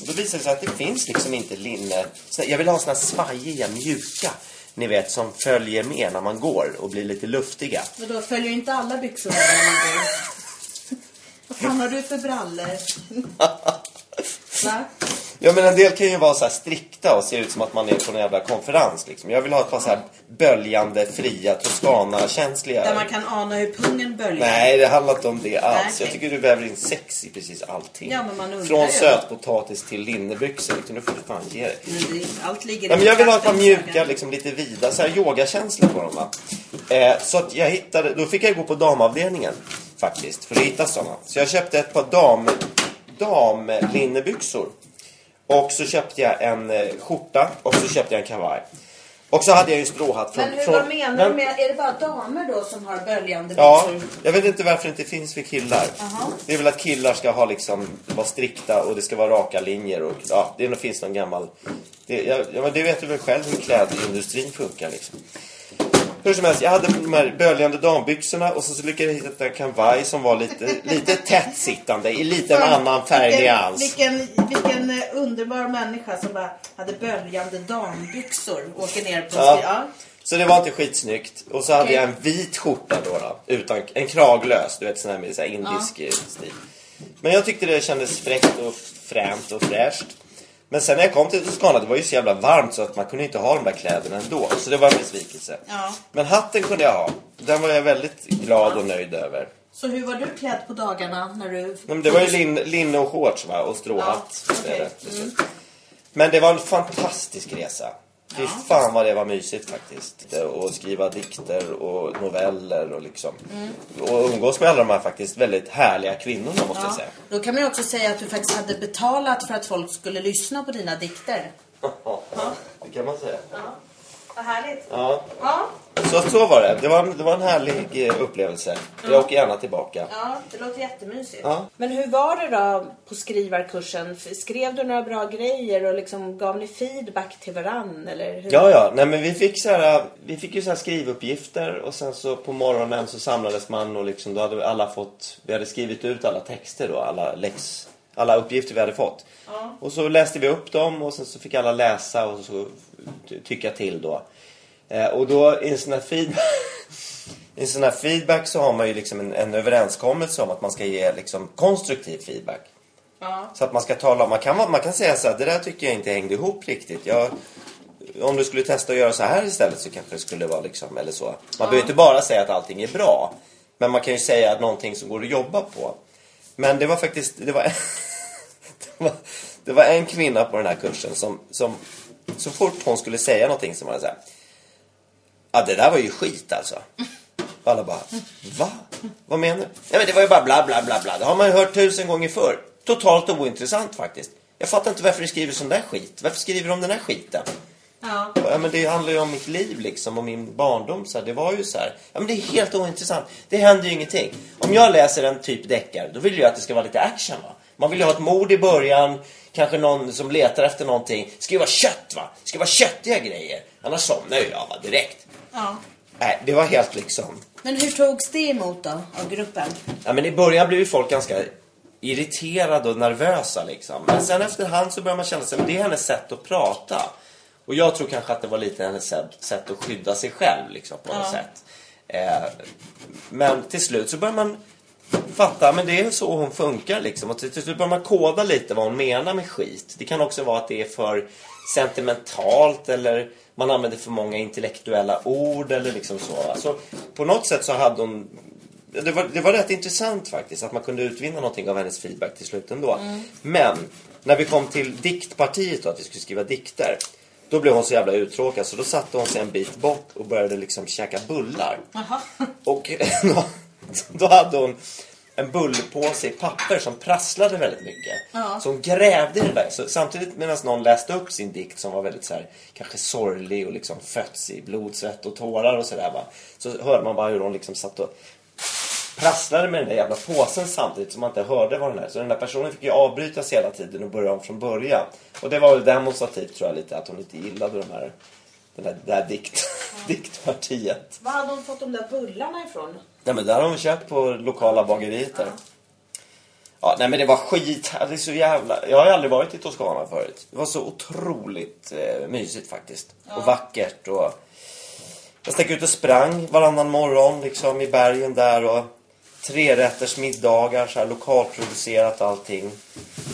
Speaker 2: Och då visade det sig att det finns liksom inte linne... Så jag vill ha såna här svajiga, mjuka, ni vet, som följer med när man går och blir lite luftiga.
Speaker 1: Men då följer inte alla byxor med när man går. Vad fan har du för brallor? Va?
Speaker 2: Ja, men en del kan ju vara så här strikta och se ut som att man är på en jävla konferens liksom. Jag vill ha ett par så här böljande, fria, Toscana-känsliga...
Speaker 1: Där man kan ana hur pungen böljar.
Speaker 2: Nej, det handlar inte om det alls.
Speaker 1: Nej, okej.
Speaker 2: Jag tycker du väver in sex i precis allting.
Speaker 1: Ja, men man undrar
Speaker 2: Från
Speaker 1: ju.
Speaker 2: sötpotatis till linnebyxor. Liksom, nu får du fan ge dig.
Speaker 1: Men det- Allt ligger
Speaker 2: Nej,
Speaker 1: i
Speaker 2: men jag vill ha ett par
Speaker 1: kontakten.
Speaker 2: mjuka, liksom, lite vida, så här yogakänsla på dem. Va? Eh, så att jag hittade, då fick jag gå på damavdelningen faktiskt, för att hitta sådana. Så jag köpte ett par dam, damlinnebyxor. Och så köpte jag en eh, skjorta och så köpte jag en kavaj. Och så hade jag ju en stråhatt från...
Speaker 1: Men hur,
Speaker 2: från,
Speaker 1: vad menar
Speaker 2: men-
Speaker 1: du med, är det bara damer då som har böljande
Speaker 2: Ja,
Speaker 1: byxor?
Speaker 2: jag vet inte varför det inte finns för killar. Det är väl att killar ska ha liksom, vara strikta och det ska vara raka linjer och ja, det är nog- finns någon gammal... Det, ja, ja, men det vet du väl själv hur klädindustrin funkar liksom. Hur som helst, jag hade de här böljande dambyxorna och så, så lyckades jag hitta en kavaj som var lite, lite tätt sittande i lite en annan färgnyans.
Speaker 1: Vilken, vilken, vilken eh, underbar människa som bara hade böljande dambyxor. Åker ner på
Speaker 2: Ja.
Speaker 1: ja. Ja.
Speaker 2: Så det var inte skitsnyggt. Och så hade
Speaker 1: Okej.
Speaker 2: jag en vit skjorta då, då utan, en kraglös, du vet sån här med så här indisk eh, stil. Men jag tyckte det kändes fräckt och fränt och fräscht. Men sen när jag kom till Toscana, det var ju så jävla varmt så att man kunde inte ha de där kläderna ändå. Så det var en besvikelse.
Speaker 1: Ja.
Speaker 2: Men hatten kunde jag ha. Den var jag väldigt glad och nöjd över.
Speaker 1: Så hur var du klädd på dagarna när du...
Speaker 2: Nej, men det var ju lin, linne och shorts va? och stråhatt.
Speaker 1: Mm. Ja, okej. Mm.
Speaker 2: Det är det till slut. Men det var en fantastisk resa. Fy fan vad det var mysigt faktiskt. Och skriva dikter och noveller och liksom.
Speaker 1: Mm.
Speaker 2: Och umgås med alla de här faktiskt väldigt härliga kvinnorna måste jag
Speaker 1: Ja.
Speaker 2: säga.
Speaker 1: Då kan man ju också säga att du faktiskt hade betalat för att folk skulle lyssna på dina dikter.
Speaker 2: Det kan man säga.
Speaker 3: Ja. Vad härligt.
Speaker 2: Ja.
Speaker 3: Ja,
Speaker 2: Så, så var det. Det var, en- det var en härlig eh, upplevelse. Jag åker gärna tillbaka.
Speaker 3: ja det låter jättemysigt.
Speaker 2: Ja.
Speaker 1: Men hur var det då på skrivarkursen? F- Skrev du några bra grejer och liksom gav ni feedback till varann? Eller hur?
Speaker 2: Ja, ja. Nej, men vi fick, så här, vi fick ju så här skrivuppgifter och sen så på morgonen så samlades man och liksom, då hade alla fått, vi hade skrivit ut alla texter då, alla läx, alla uppgifter vi hade fått. Och så läste vi upp dem och sen så fick alla läsa och så ty- tycka till då. Eh, och då i en sån här feedback, i en sån här feedback så har man ju liksom en, en överenskommelse om att man ska ge liksom konstruktiv feedback.
Speaker 3: Ja.
Speaker 2: Så att man ska tala om, man kan, vara- man kan säga så här, det där tycker jag inte hängde ihop riktigt. Jag, om du skulle testa att göra så här istället så kanske det skulle vara liksom, eller så. Man behöver inte bara säga att allting är bra. Men man kan ju säga att någonting som går att jobba på. Men det var faktiskt, det var, det var, det var en kvinna på den här kursen som, som så fort hon skulle säga någonting så var det så här. Ja, det där var ju skit alltså. Och alla bara, va? Vad menar du? Nej men det var ju bara bla bla bla bla. Det har man ju hört tusen gånger förr. Totalt ointressant faktiskt. Jag fattar inte varför du skriver sån där skit. Varför skriver du om den här skiten?
Speaker 1: Ja.
Speaker 2: Ja, men det handlar ju om mitt liv liksom och min barndom. Så här. Det var ju så här. Ja, men det är helt ointressant. Det händer ju ingenting. Om jag läser en typ deckare, då vill jag att det ska vara lite action. Va? Man vill ju ha ett mord i början, kanske någon som letar efter någonting. Det ska ju vara kött va? Det ska vara köttiga grejer. Annars somnar ju jag va? direkt.
Speaker 1: Ja.
Speaker 2: Nej, det var helt liksom...
Speaker 1: Men hur togs det emot då av gruppen?
Speaker 2: Ja, men I början blev ju folk ganska irriterade och nervösa. Liksom. Men sen efterhand så börjar man känna sig, men det är hennes sätt att prata. Och jag tror kanske att det var lite hennes sätt, sätt att skydda sig själv liksom, på något sätt. Eh, men till slut så börjar man fatta, men det är så hon funkar liksom. Och till, till slut börjar man koda lite vad hon menar med skit. Det kan också vara att det är för sentimentalt eller man använder för många intellektuella ord eller liksom så. Alltså, på något sätt så hade hon det var, det var rätt intressant faktiskt att man kunde utvinna någonting av hennes feedback till slut ändå. Men när vi kom till diktpartiet då, att vi skulle skriva dikter. Då blev hon så jävla uttråkad så då satte hon sig en bit bort och började liksom käka bullar. Och då, då hade hon en bullpåse i papper som prasslade väldigt mycket. Så hon grävde i det där. Så samtidigt medan någon läste upp sin dikt som var väldigt så här, kanske sorglig och liksom fötts i blod, svett och tårar och sådär. Så hörde man bara hur hon liksom satt och prasslade med den där jävla påsen samtidigt som man inte hörde vad den är. Så den där personen fick ju avbrytas hela tiden och börja om från början. Och det var väl demonstrativt tror jag lite att hon inte gillade de här, den där, det här dikt, diktpartiet.
Speaker 1: Var hade hon fått de där bullarna ifrån?
Speaker 2: Nej men där har hon köpt på lokala bageriet där. Ja, nej men det var skit. Det är så jävla... Jag har ju aldrig varit i Toscana förut. Det var så otroligt eh, mysigt faktiskt. Och vackert och... Jag stack ut och sprang varannan morgon liksom i bergen där och trerätters middagar, så här lokalproducerat allting.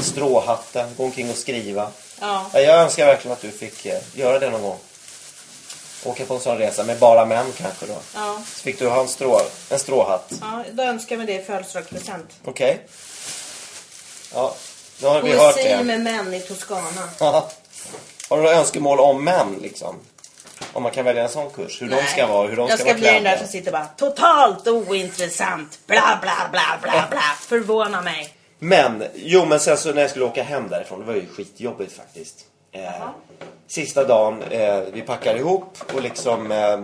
Speaker 2: Stråhatten, gå omkring och skriva.
Speaker 1: Ja.
Speaker 2: Ja, Jag önskar verkligen att du fick eh, göra det någon gång. Åka på en sån resa med bara män kanske då.
Speaker 1: Ja.
Speaker 2: Så fick du ha en, strå, en stråhatt.
Speaker 1: Ja, då önskar vi det i födelsedagspresent.
Speaker 2: Okej. Ja, nu har vi hört
Speaker 1: Poesi
Speaker 2: det.
Speaker 1: med män i Toscana.
Speaker 2: Ja. har du några önskemål om män liksom? Om man kan välja en sån kurs. Hur de ska vara, hur de
Speaker 1: jag ska,
Speaker 2: ska, vara
Speaker 1: bli den där
Speaker 2: klädda.
Speaker 1: som sitter bara totalt ointressant. Bla, bla, bla, bla, bla. Förvåna mig.
Speaker 2: Men, jo men sen så när jag skulle åka hem därifrån, det var ju skitjobbigt faktiskt. Eh, sista dagen, eh, vi packar ihop och liksom eh,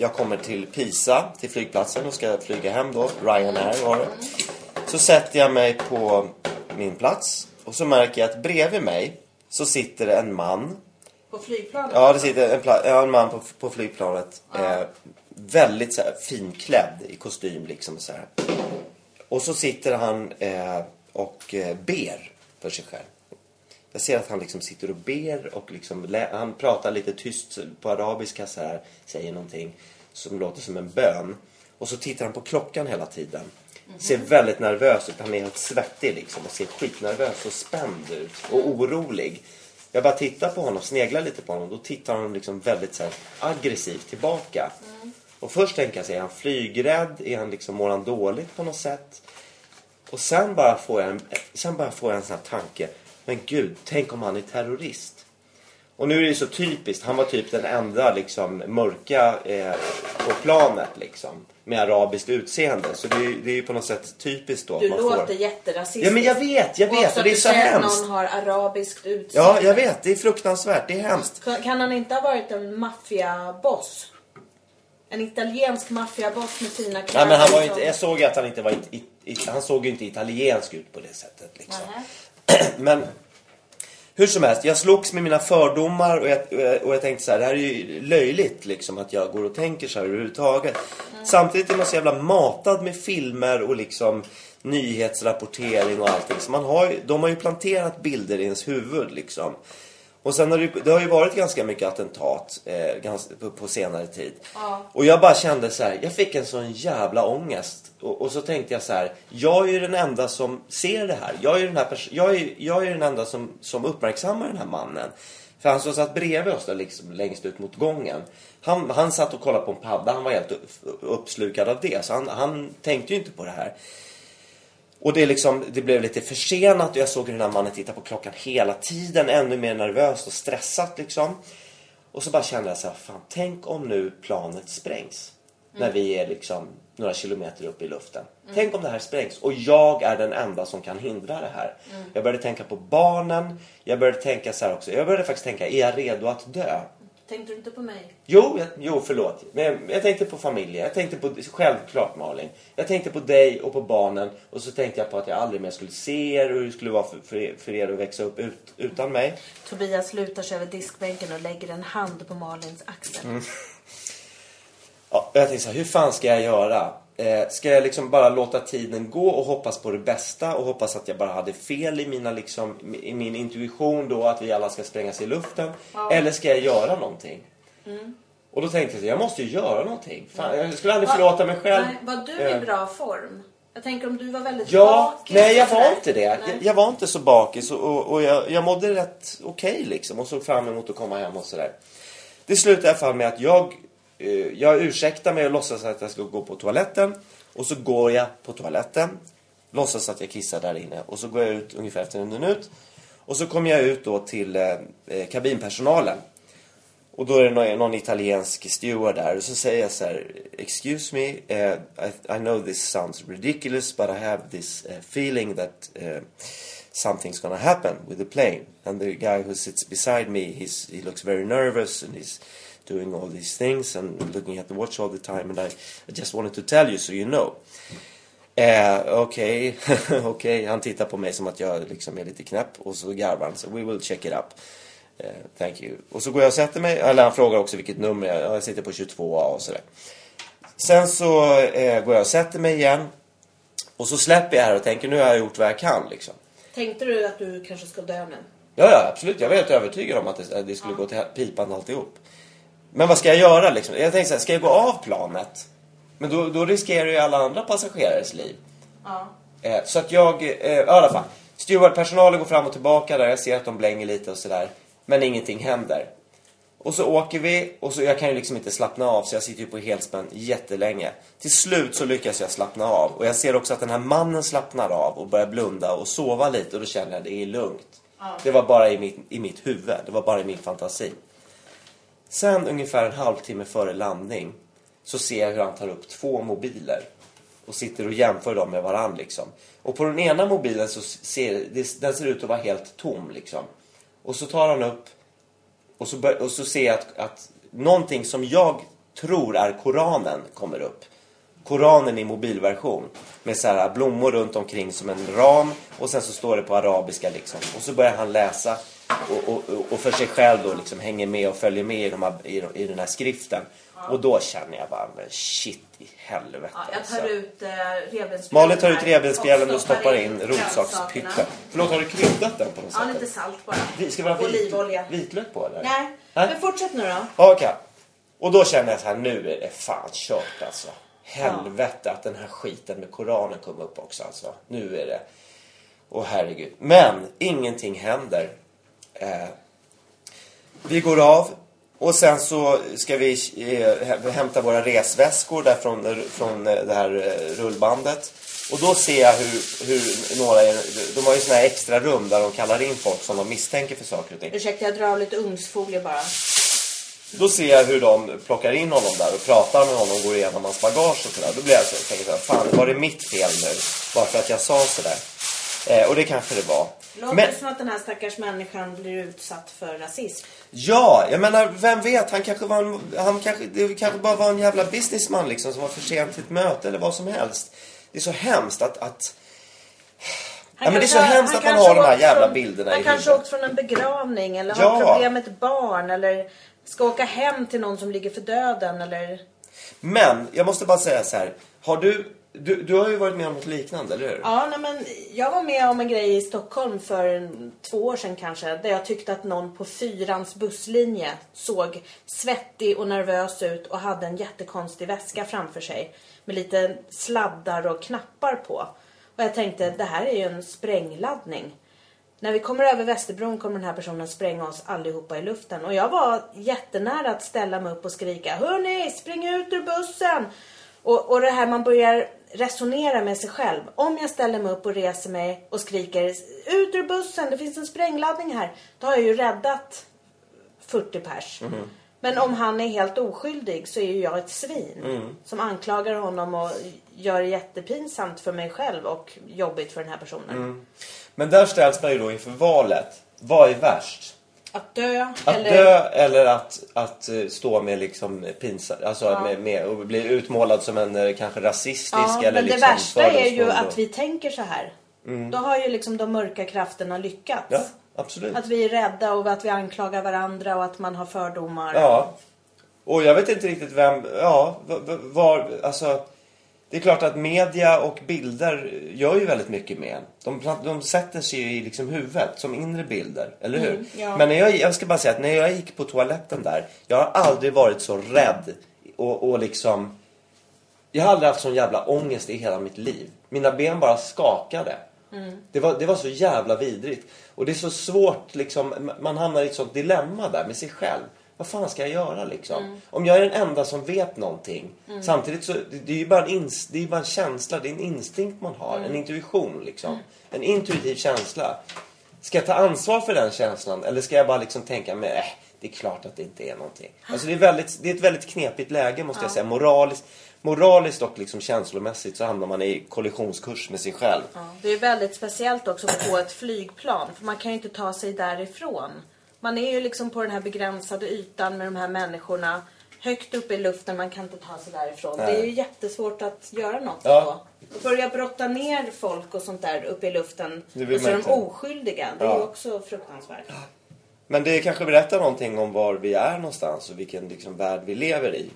Speaker 2: jag kommer till Pisa, till flygplatsen och ska flyga hem då. Ryanair var det. Så sätter jag mig på min plats och så märker jag att bredvid mig så sitter det en man
Speaker 3: På flygplanet?
Speaker 2: Ja, det sitter en, pla- ja, en man på, på flygplanet. Eh, väldigt så här, finklädd i kostym liksom. Så här. Och så sitter han eh, och eh, ber för sig själv. Jag ser att han liksom sitter och ber och liksom lä- han pratar lite tyst på arabiska så här, säger någonting som låter som en bön. Och så tittar han på klockan hela tiden. Ser väldigt nervös ut. Han är helt svettig liksom och ser skitnervös och spänd ut och orolig. Jag bara tittar på honom, sneglar lite på honom. Då tittar han liksom väldigt så här aggressivt tillbaka. Och först tänker jag sig, är han flygrädd? Är han liksom, mår han dåligt på något sätt? Och sen bara får jag en, sen bara får jag en sån här tanke. Men gud, tänk om han är terrorist? Och nu är det ju så typiskt. Han var typ den enda liksom, mörka eh, på planet liksom. Med arabiskt utseende. Så det är, ju- det är ju på något sätt typiskt då. att
Speaker 1: Du
Speaker 2: man
Speaker 1: låter
Speaker 2: får...
Speaker 1: jätterasistisk.
Speaker 2: Ja men jag vet, jag
Speaker 1: Och
Speaker 2: vet.
Speaker 1: också
Speaker 2: Och det är
Speaker 1: att du
Speaker 2: så
Speaker 1: säger att
Speaker 2: hemskt.
Speaker 1: någon har arabiskt utseende.
Speaker 2: Ja, jag vet. Det är fruktansvärt. Det är hemskt.
Speaker 1: Kan- Kan han inte ha varit en maffiaboss? En italiensk maffiaboss med fina kläder.
Speaker 2: Nej, men han var ju
Speaker 1: som-
Speaker 2: inte, jag såg ju att han inte var... It, it, han såg ju inte italiensk ut på det sättet liksom.
Speaker 1: Nähä.
Speaker 2: Men hur som helst, jag slogs med mina fördomar och jag, och jag- och jag tänkte så här, det här är ju löjligt liksom att jag går och tänker så här överhuvudtaget. Samtidigt är man så jävla matad med filmer och liksom nyhetsrapportering och allting. Så man har ju, de har ju planterat bilder i ens huvud liksom. Och sen har det, ju- det har ju varit ganska mycket attentat eh, ganska, på, på senare tid. Och jag bara kände så här, jag fick en sån jävla ångest. Och, och så tänkte jag så här, jag är ju den enda som ser det här. Jag är ju den, här pers- jag är, jag är den enda som, som uppmärksammar den här mannen. För han som satt bredvid oss där liksom, längst ut mot gången. Han, han satt och kollade på en padda, han var helt upp, uppslukad av det. Så han, han tänkte ju inte på det här. Och det, är liksom, det blev lite försenat och jag såg hur den här mannen tittade på klockan hela tiden. Ännu mer nervöst och stressat liksom. Och så bara kände jag så här, fan tänk om nu planet sprängs. När vi är liksom några kilometer upp i luften. Tänk om det här sprängs och jag är den enda som kan hindra det här. Jag började tänka på barnen. Jag började tänka så här också. Jag började faktiskt tänka, är jag redo att dö?
Speaker 1: Tänkte du inte på mig?
Speaker 2: Jo, jag, jo, förlåt. Men jag, jag tänkte på familjen. Jag tänkte på, självklart Malin. Jag tänkte på dig och på barnen. Och så tänkte jag på att jag aldrig mer skulle se er och hur det skulle vara för, för, er, för er att växa upp ut, utan mig.
Speaker 1: Tobias lutar sig över diskbänken och lägger en hand på Malins axel.
Speaker 2: Mm. Ja, och jag tänkte så här, hur fan ska jag göra? Eh, ska jag liksom bara låta tiden gå och hoppas på det bästa och hoppas att jag bara hade fel i, mina liksom, i min intuition då att vi alla ska sprängas i luften? Eller ska jag göra någonting? Och då tänkte jag, så här, jag måste ju göra någonting. Fan, jag skulle aldrig
Speaker 1: Mm. Va-
Speaker 2: förlåta mig själv.
Speaker 1: Nej, var du
Speaker 2: Eh.
Speaker 1: i bra form? Jag tänker om du var väldigt
Speaker 2: Ja,
Speaker 1: bakis
Speaker 2: nej jag
Speaker 1: och sådär.
Speaker 2: var inte det.
Speaker 1: Nej.
Speaker 2: Jag, jag var inte så bakis och, och, och jag, jag mådde rätt okej liksom och såg fram emot att komma hem och sådär. Det slutade i alla fall med att jag, eh, jag ursäktar mig och låtsas att jag ska gå på toaletten och så går jag på toaletten, låtsas att jag kissar där inne och så går jag ut ungefär efter en minut och så kommer jag ut då till eh, eh, kabinpersonalen och då är det någon, någon italiensk steward där och så säger jag så här Excuse me, eh, I, I know this sounds ridiculous but I have this eh, feeling that eh, something's gonna happen with the plane. And the guy who sits beside me, he's, he looks very nervous and he's doing all these things and looking at the watch all the time and I, I just wanted to tell you so you know. Eh, Okej, okej. Han tittar på mig som att jag liksom är lite knäpp och så garvar han. Så we will check it up. Eh, thank you. Och så går jag och sätter mig. Eller han frågar också vilket nummer jag Jag sitter på 22A och sådär. Sen så eh, går jag och sätter mig igen. Och så släpper jag här och tänker nu har jag gjort vad jag kan liksom.
Speaker 1: Tänkte du att du kanske ska dö nu?
Speaker 2: Ja, ja, absolut. Jag var helt övertygad om att det, att det skulle gå till hel- pipan alltihop. Men vad ska jag göra liksom? Jag tänkte så här, ska jag gå av planet? Men då, då riskerar ju alla andra passagerares liv.
Speaker 1: Ja.
Speaker 2: Eh, så att jag, eh, i alla fall. Stewardpersonalen går fram och tillbaka där, jag ser att de blänger lite och sådär. Men ingenting händer. Och så åker vi och så, jag kan ju liksom inte slappna av så jag sitter ju på helspänn jättelänge. Till slut så lyckas jag slappna av och jag ser också att den här mannen slappnar av och börjar blunda och sova lite och då känner jag att det är lugnt. Det var bara i mitt, i mitt huvud, det var bara i min fantasi. Sen ungefär en halvtimme före landning så ser jag hur han tar upp två mobiler och sitter och jämför dem med varandra. Liksom. Och på den ena mobilen så ser det, den ser ut att vara helt tom. Liksom. Och så tar han upp och så, bör, och så ser jag att, att någonting som jag tror är Koranen kommer upp. Koranen i mobilversion med så här blommor runt omkring som en ram och sen så står det på arabiska liksom. Och så börjar han läsa och, och, och- och för sig själv då liksom hänger med och följer med i, de här, i, i den här skriften. Och då känner jag bara, men shit i helvete.
Speaker 1: Ja, jag
Speaker 2: alltså.
Speaker 1: tar ut eh, revbensspjällen.
Speaker 2: Malin tar ut
Speaker 1: här
Speaker 2: revbensspjällen och stoppar in
Speaker 1: grönsakerna.
Speaker 2: rotsakspytten. Förlåt, har du kryddat den på något
Speaker 1: Ja,
Speaker 2: sätt?
Speaker 1: lite salt bara.
Speaker 2: Vi- Ska vi ha vit,
Speaker 1: Olivolja.
Speaker 2: vitlök på eller?
Speaker 1: Nej,
Speaker 2: Nej.
Speaker 1: men fortsätt nu då.
Speaker 2: Ja, Okej. Och då känner jag så här, nu är det fan kört alltså. Helvete att den här skiten med Koranen kom upp också alltså. Nu är det... Åh herregud. Men ingenting händer. Eh, vi går av och sen så ska vi eh, hämta våra resväskor där från, från eh, det här eh, rullbandet. Och då ser jag hur, hur några, är- de har ju såna här extra rum där de kallar in folk som de misstänker för saker och ting.
Speaker 1: Ursäkta, jag drar av lite ugnsfolie bara.
Speaker 2: Då ser jag hur de plockar in honom där och pratar med honom och går igenom hans bagage och sådär. Då blir jag så, tänker så här, fan var det mitt fel nu? Bara för att jag sa sådär. Eh, och det kanske det var.
Speaker 1: Låter
Speaker 2: Men
Speaker 1: det som att den här stackars människan blir utsatt för rasism?
Speaker 2: ja, jag menar, vem vet? Han kanske var en, han kanske, det kanske bara var en jävla businessman liksom som var för sent till ett möte eller vad som helst. Det är så hemskt att, att Ja, men det är
Speaker 1: kanske-
Speaker 2: så hemskt att man
Speaker 1: kanske
Speaker 2: har de här
Speaker 1: åkt
Speaker 2: jävla
Speaker 1: från-
Speaker 2: bilderna i
Speaker 1: Han kanske
Speaker 2: huvudet.
Speaker 1: åkt från en begravning eller
Speaker 2: Ja.
Speaker 1: har problem med ett barn eller ska åka hem till någon som ligger för döden eller...
Speaker 2: Men jag måste bara säga så här. Har du, du, du har ju varit med om något liknande, eller hur?
Speaker 1: Ja, nej, men jag var med om en grej i Stockholm för en- två år sedan kanske. Där jag tyckte att någon på fyrans busslinje såg svettig och nervös ut och hade en jättekonstig väska framför sig. Med lite sladdar och knappar på. Och jag tänkte, det här är ju en sprängladdning. När vi kommer över Västerbron kommer den här personen spränga oss allihopa i luften. Och jag var jättenära att ställa mig upp och skrika Hörni, spring ut ur bussen! Och, och det här man börjar resonera med sig själv. Om jag ställer mig upp och reser mig och skriker Ut ur bussen, det finns en sprängladdning här. Då har jag ju räddat 40 pers. Men om han är helt oskyldig så är ju jag ett svin. Som anklagar honom och gör det jättepinsamt för mig själv och jobbigt för den här personen.
Speaker 2: Men där ställs man ju då inför valet. Vad är värst?
Speaker 1: Att dö
Speaker 2: Att
Speaker 1: eller...
Speaker 2: dö eller att, att eh, stå med liksom pinsa, alltså med, med, och bli utmålad som en eh, kanske rasistisk
Speaker 1: Ja,
Speaker 2: eller
Speaker 1: men
Speaker 2: liksom
Speaker 1: det värsta är ju
Speaker 2: fördomsfull
Speaker 1: att
Speaker 2: och-
Speaker 1: vi tänker så här. Då har ju liksom de mörka krafterna lyckats.
Speaker 2: Ja, absolut.
Speaker 1: Att vi är rädda och att vi anklagar varandra och att man har fördomar.
Speaker 2: Ja. Och jag vet inte riktigt vem, ja, v- v- var, alltså. Det är klart att media och bilder gör ju väldigt mycket med en. De, plant- de sätter sig ju i liksom huvudet som inre bilder, eller hur?
Speaker 1: Mm, ja.
Speaker 2: Men när jag, jag ska bara säga att när jag gick på toaletten där, jag har aldrig varit så rädd och, och liksom Jag har aldrig haft sån jävla ångest i hela mitt liv. Mina ben bara skakade. Det, var, det var så jävla vidrigt. Och det är så svårt, liksom, m- man hamnar i ett sånt dilemma där med sig själv. Vad fan ska jag göra liksom? Om jag är den enda som vet någonting. Samtidigt så, det, det är ju bara en, ins, det är ju bara en känsla, det är en instinkt man har. En intuition liksom. En intuitiv känsla. Ska jag ta ansvar för den känslan eller ska jag bara liksom tänka mig, äh, det är klart att det inte är någonting. Alltså det är, väldigt, det är ett väldigt knepigt läge måste jag säga. Moraliskt, moraliskt och liksom känslomässigt så hamnar man i kollisionskurs med sig själv.
Speaker 1: Ja, Det är väldigt speciellt också på ett flygplan. För man kan ju inte ta sig därifrån. Man är ju liksom på den här begränsade ytan med de här människorna. Högt upp i luften, man kan inte ta sig därifrån.
Speaker 2: Nej.
Speaker 1: Det är ju jättesvårt att göra något
Speaker 2: Ja.
Speaker 1: då. Och börja brotta ner folk och sånt där uppe i luften.
Speaker 2: Det vill
Speaker 1: Och så är
Speaker 2: man
Speaker 1: de
Speaker 2: inte.
Speaker 1: oskyldiga. Det är
Speaker 2: Ja.
Speaker 1: ju också fruktansvärt.
Speaker 2: Men det kanske berättar någonting om var vi är någonstans och vilken liksom värld vi lever i.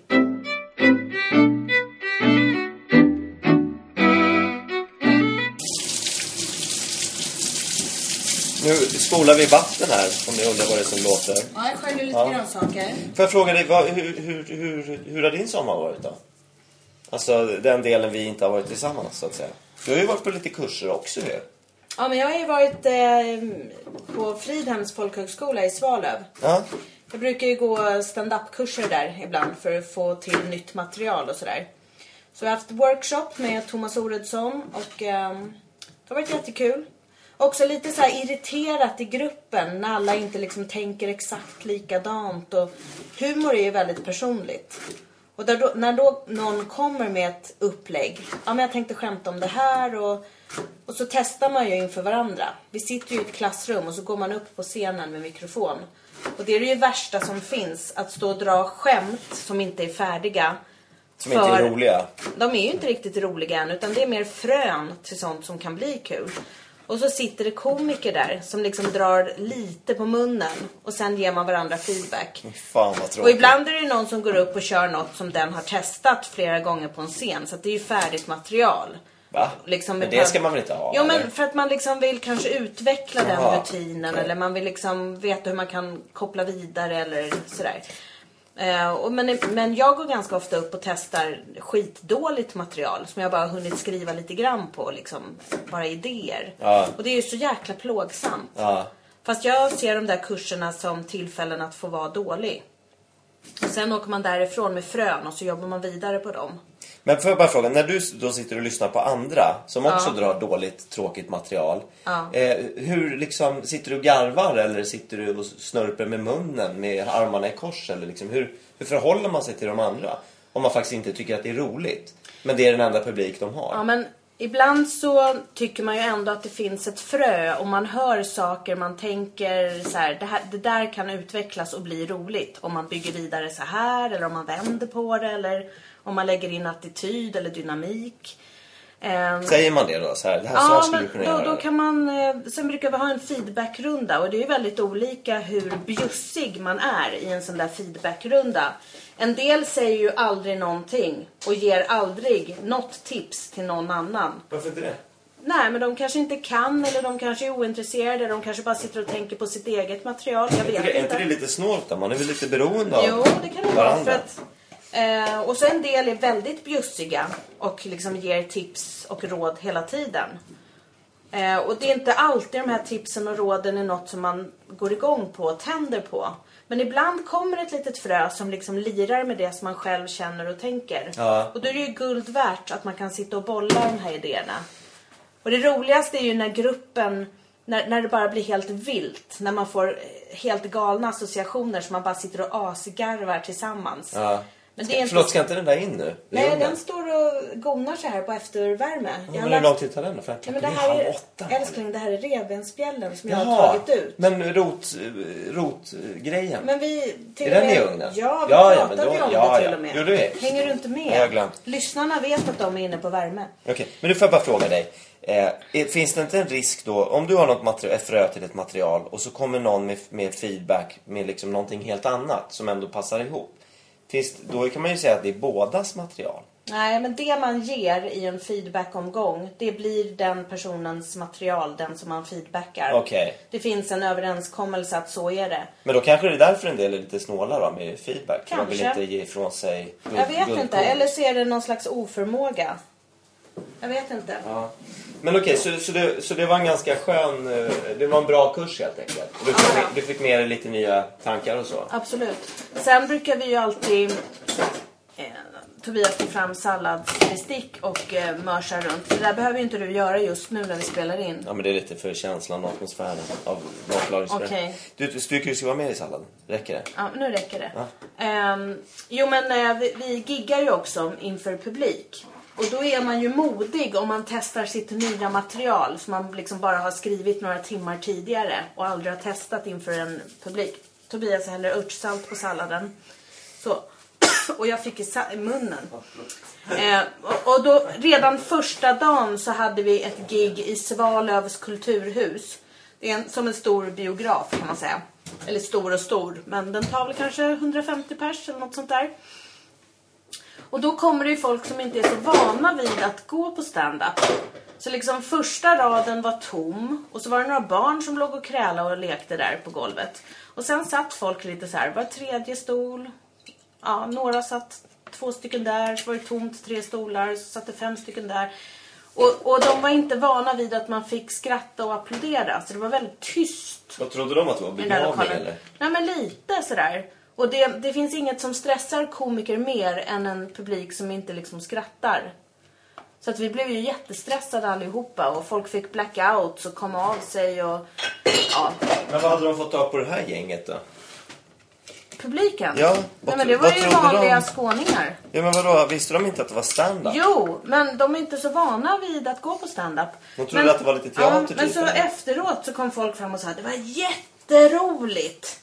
Speaker 2: Nu spolar vi vatten här om ni undrar vad det är som låter.
Speaker 1: Ja, jag sköljer lite
Speaker 2: Ja.
Speaker 1: grönsaker.
Speaker 2: Får jag fråga dig, vad, hur, hur, hur, hur har din sommar varit då? Alltså den delen vi inte har varit tillsammans så att säga. Du har ju varit på lite kurser också ju.
Speaker 1: Ja, men jag har ju varit eh, på Fridhems folkhögskola i Svalöv.
Speaker 2: Ja.
Speaker 1: Jag brukar ju gå stand-up-kurser där ibland för att få till nytt material och sådär. Så jag har haft workshop med Thomas Oredsson och ehm, det har varit jättekul. Också lite så här irriterat i gruppen när alla inte liksom tänker exakt likadant och humor är ju väldigt personligt. Och där då, när då någon kommer med ett upplägg. Ja, men jag tänkte skämta om det här och, och så testar man ju inför varandra. Vi sitter ju i ett klassrum och så går man upp på scenen med mikrofon. Och det är det ju värsta som finns, att stå och dra skämt som inte är färdiga.
Speaker 2: Som inte är roliga.
Speaker 1: De är ju inte riktigt roliga än, utan det är mer frön till sånt som kan bli kul. Och så sitter det komiker där som liksom drar lite på munnen och sen ger man varandra feedback.
Speaker 2: Fan vad
Speaker 1: Och
Speaker 2: tråkigt.
Speaker 1: ibland är det någon som går upp och kör något som den har testat flera gånger på en scen. Så att det är ju färdigt material.
Speaker 2: Va?
Speaker 1: Liksom
Speaker 2: men det
Speaker 1: ibland-
Speaker 2: ska man väl inte ha?
Speaker 1: Jo
Speaker 2: eller?
Speaker 1: men för att man liksom vill kanske utveckla den
Speaker 2: Jaha.
Speaker 1: rutinen eller man vill liksom veta hur man kan koppla vidare eller sådär. Eh, och men, men jag går ganska ofta upp och testar skitdåligt material som jag bara har hunnit skriva lite grann på. Liksom, bara idéer.
Speaker 2: Ja.
Speaker 1: Och det är ju så jäkla plågsamt.
Speaker 2: Ja.
Speaker 1: Fast jag ser de där kurserna som tillfällen att få vara dålig. Och sen åker man därifrån med frön och så jobbar man vidare på dem.
Speaker 2: Men får jag bara fråga, när du då sitter och lyssnar på andra som också drar dåligt, tråkigt material.
Speaker 1: Ja.
Speaker 2: Eh, hur liksom, sitter du och garvar eller sitter du och snörper med munnen med armarna i kors? Eller liksom, hur, hur förhåller man sig till de andra? Om man faktiskt inte tycker att det är roligt. Men det är den enda publik de har.
Speaker 1: Ja, men ibland så tycker man ju ändå att det finns ett frö och man hör saker, man tänker så här, det, här, det där kan utvecklas och bli roligt om man bygger vidare så här eller om man vänder på det eller om man lägger in attityd eller dynamik. Ehm,
Speaker 2: Säger man det då? Så här, det här, så här
Speaker 1: Ja,
Speaker 2: skulle du
Speaker 1: men
Speaker 2: kunna
Speaker 1: då,
Speaker 2: göra.
Speaker 1: då kan man... eh, Sen brukar vi ha en feedbackrunda och det är ju väldigt olika hur bjussig man är i en sån där feedbackrunda. En del säger ju aldrig någonting och ger aldrig något tips till någon annan.
Speaker 2: Varför inte det?
Speaker 1: Nej, men de kanske inte kan eller de kanske är ointresserade. De kanske bara sitter och tänker på sitt eget material. Jag
Speaker 2: Är
Speaker 1: vet
Speaker 2: inte det, är inte det
Speaker 1: inte.
Speaker 2: lite snålt då? Man är väl lite beroende av
Speaker 1: Jo, det kan det vara. För att, eh, och så en del är väldigt bjussiga och liksom ger tips och råd hela tiden. Eh, och det är inte alltid de här tipsen och råden är något som man går igång på och tänder på. Men ibland kommer ett litet frö som liksom lirar med det som man själv känner och tänker.
Speaker 2: Ja.
Speaker 1: Och då är det ju guld värt att man kan sitta och bolla de här idéerna. Och det roligaste är ju när gruppen, när, när det bara blir helt vilt. När man får eh, helt galna associationer som man bara sitter och asgarvar tillsammans.
Speaker 2: Ja.
Speaker 1: Men det är inte...
Speaker 2: Förlåt, ska inte den där in nu? I
Speaker 1: Nej,
Speaker 2: ugnen?
Speaker 1: den står och gonar så här på eftervärme. Jag har
Speaker 2: Men hur
Speaker 1: lagt-
Speaker 2: lång tid tar den då? För
Speaker 1: Nej, men
Speaker 2: klockan
Speaker 1: det
Speaker 2: är
Speaker 1: här
Speaker 2: halv
Speaker 1: är,
Speaker 2: åtta.
Speaker 1: älskling, det här är revbensspjällen som jag har
Speaker 2: Jaha,
Speaker 1: tagit ut.
Speaker 2: men rot, rotgrejen.
Speaker 1: Men vi... Till och
Speaker 2: Är den
Speaker 1: med-
Speaker 2: i ugnen?
Speaker 1: Ja, vi
Speaker 2: Ja, ja,
Speaker 1: pratade
Speaker 2: men då-
Speaker 1: ju om
Speaker 2: ja,
Speaker 1: det till
Speaker 2: ja.
Speaker 1: och med.
Speaker 2: Gjorde vi?
Speaker 1: Hänger du inte med?
Speaker 2: Jag har glömt.
Speaker 1: Lyssnarna vet att de är inne på värme.
Speaker 2: Okej, men nu får jag bara fråga dig. Eh, är- finns det inte en risk då, om du har något material, ett frö till ett material och så kommer någon med, med feedback med liksom någonting helt annat som ändå passar ihop. Finns, då kan man ju säga att det är bådas material.
Speaker 1: Nej, men det man ger i en feedbackomgång, det blir den personens material, den som man feedbackar.
Speaker 2: Okej.
Speaker 1: Det finns en överenskommelse att så är det.
Speaker 2: Men då kanske det är därför en del är lite snåla då med feedback. För Man vill
Speaker 1: Kanske.
Speaker 2: inte ge ifrån sig guld-
Speaker 1: Jag vet inte,
Speaker 2: guldkorn.
Speaker 1: eller så är det någon slags oförmåga. Jag vet inte.
Speaker 2: Ja. Men okej, så, så, det, så det var en ganska skön... eh, Det var en bra kurs helt enkelt. Du
Speaker 1: Ja,
Speaker 2: fick,
Speaker 1: ja.
Speaker 2: du fick med dig lite nya tankar och så.
Speaker 1: Absolut. Sen brukar vi ju alltid eh, Tobias tar fram salladsbestick och eh, mörsar runt. Det där behöver ju inte du göra just nu när vi spelar in.
Speaker 2: Ja, men det är lite för känslan och atmosfären av matlagningsbröd.
Speaker 1: Okej.
Speaker 2: Du, du tycker du ska vara med i salladen? Räcker det?
Speaker 1: Ja, nu räcker det. Ehm, jo, men eh, vi, vi giggar ju också inför publik. Och då är man ju modig om man testar sitt nya material som man liksom bara har skrivit några timmar tidigare och aldrig har testat inför en publik. Tobias häller örtsalt på salladen. Så. Och jag fick i, sa- i munnen. Eh, och, och då, redan första dagen så hade vi ett gig i Svalövs kulturhus. Det är en, som en stor biograf kan man säga. Eller stor och stor, men den tar väl kanske 150 pers eller något sånt där. Och då kommer det ju folk som inte är så vana vid att gå på stand-up. Så liksom första raden var tom och så var det några barn som låg och krälade och lekte där på golvet. Och sen satt folk lite så här, var tredje stol. Ja, några satt två stycken där, så var det tomt tre stolar, så satt det fem stycken där. Och, och de var inte vana vid att man fick skratta och applådera, så det var väldigt tyst
Speaker 2: Vad trodde de att det var?
Speaker 1: i den här
Speaker 2: Begravning
Speaker 1: lokalen.
Speaker 2: eller?
Speaker 1: Nej men lite sådär. Och det, det finns inget som stressar komiker mer än en publik som inte liksom skrattar. Så att vi blev ju jättestressade allihopa och folk fick blackouts och kom av sig och ja,
Speaker 2: Men vad hade de fått tag på det här gänget då?
Speaker 1: publiken.
Speaker 2: Ja,
Speaker 1: Nej,
Speaker 2: vad
Speaker 1: men
Speaker 2: tro-
Speaker 1: det var
Speaker 2: vad
Speaker 1: ju
Speaker 2: trodde de?
Speaker 1: vanliga skåningar.
Speaker 2: Ja men vadå, visste de inte att det var stand-up?
Speaker 1: Jo, men de är inte så vana vid att gå på standup.
Speaker 2: De trodde
Speaker 1: men,
Speaker 2: att det var lite teater,
Speaker 1: Ja, men
Speaker 2: typ,
Speaker 1: så
Speaker 2: eller?
Speaker 1: efteråt så kom folk fram och sa att det var jätteroligt.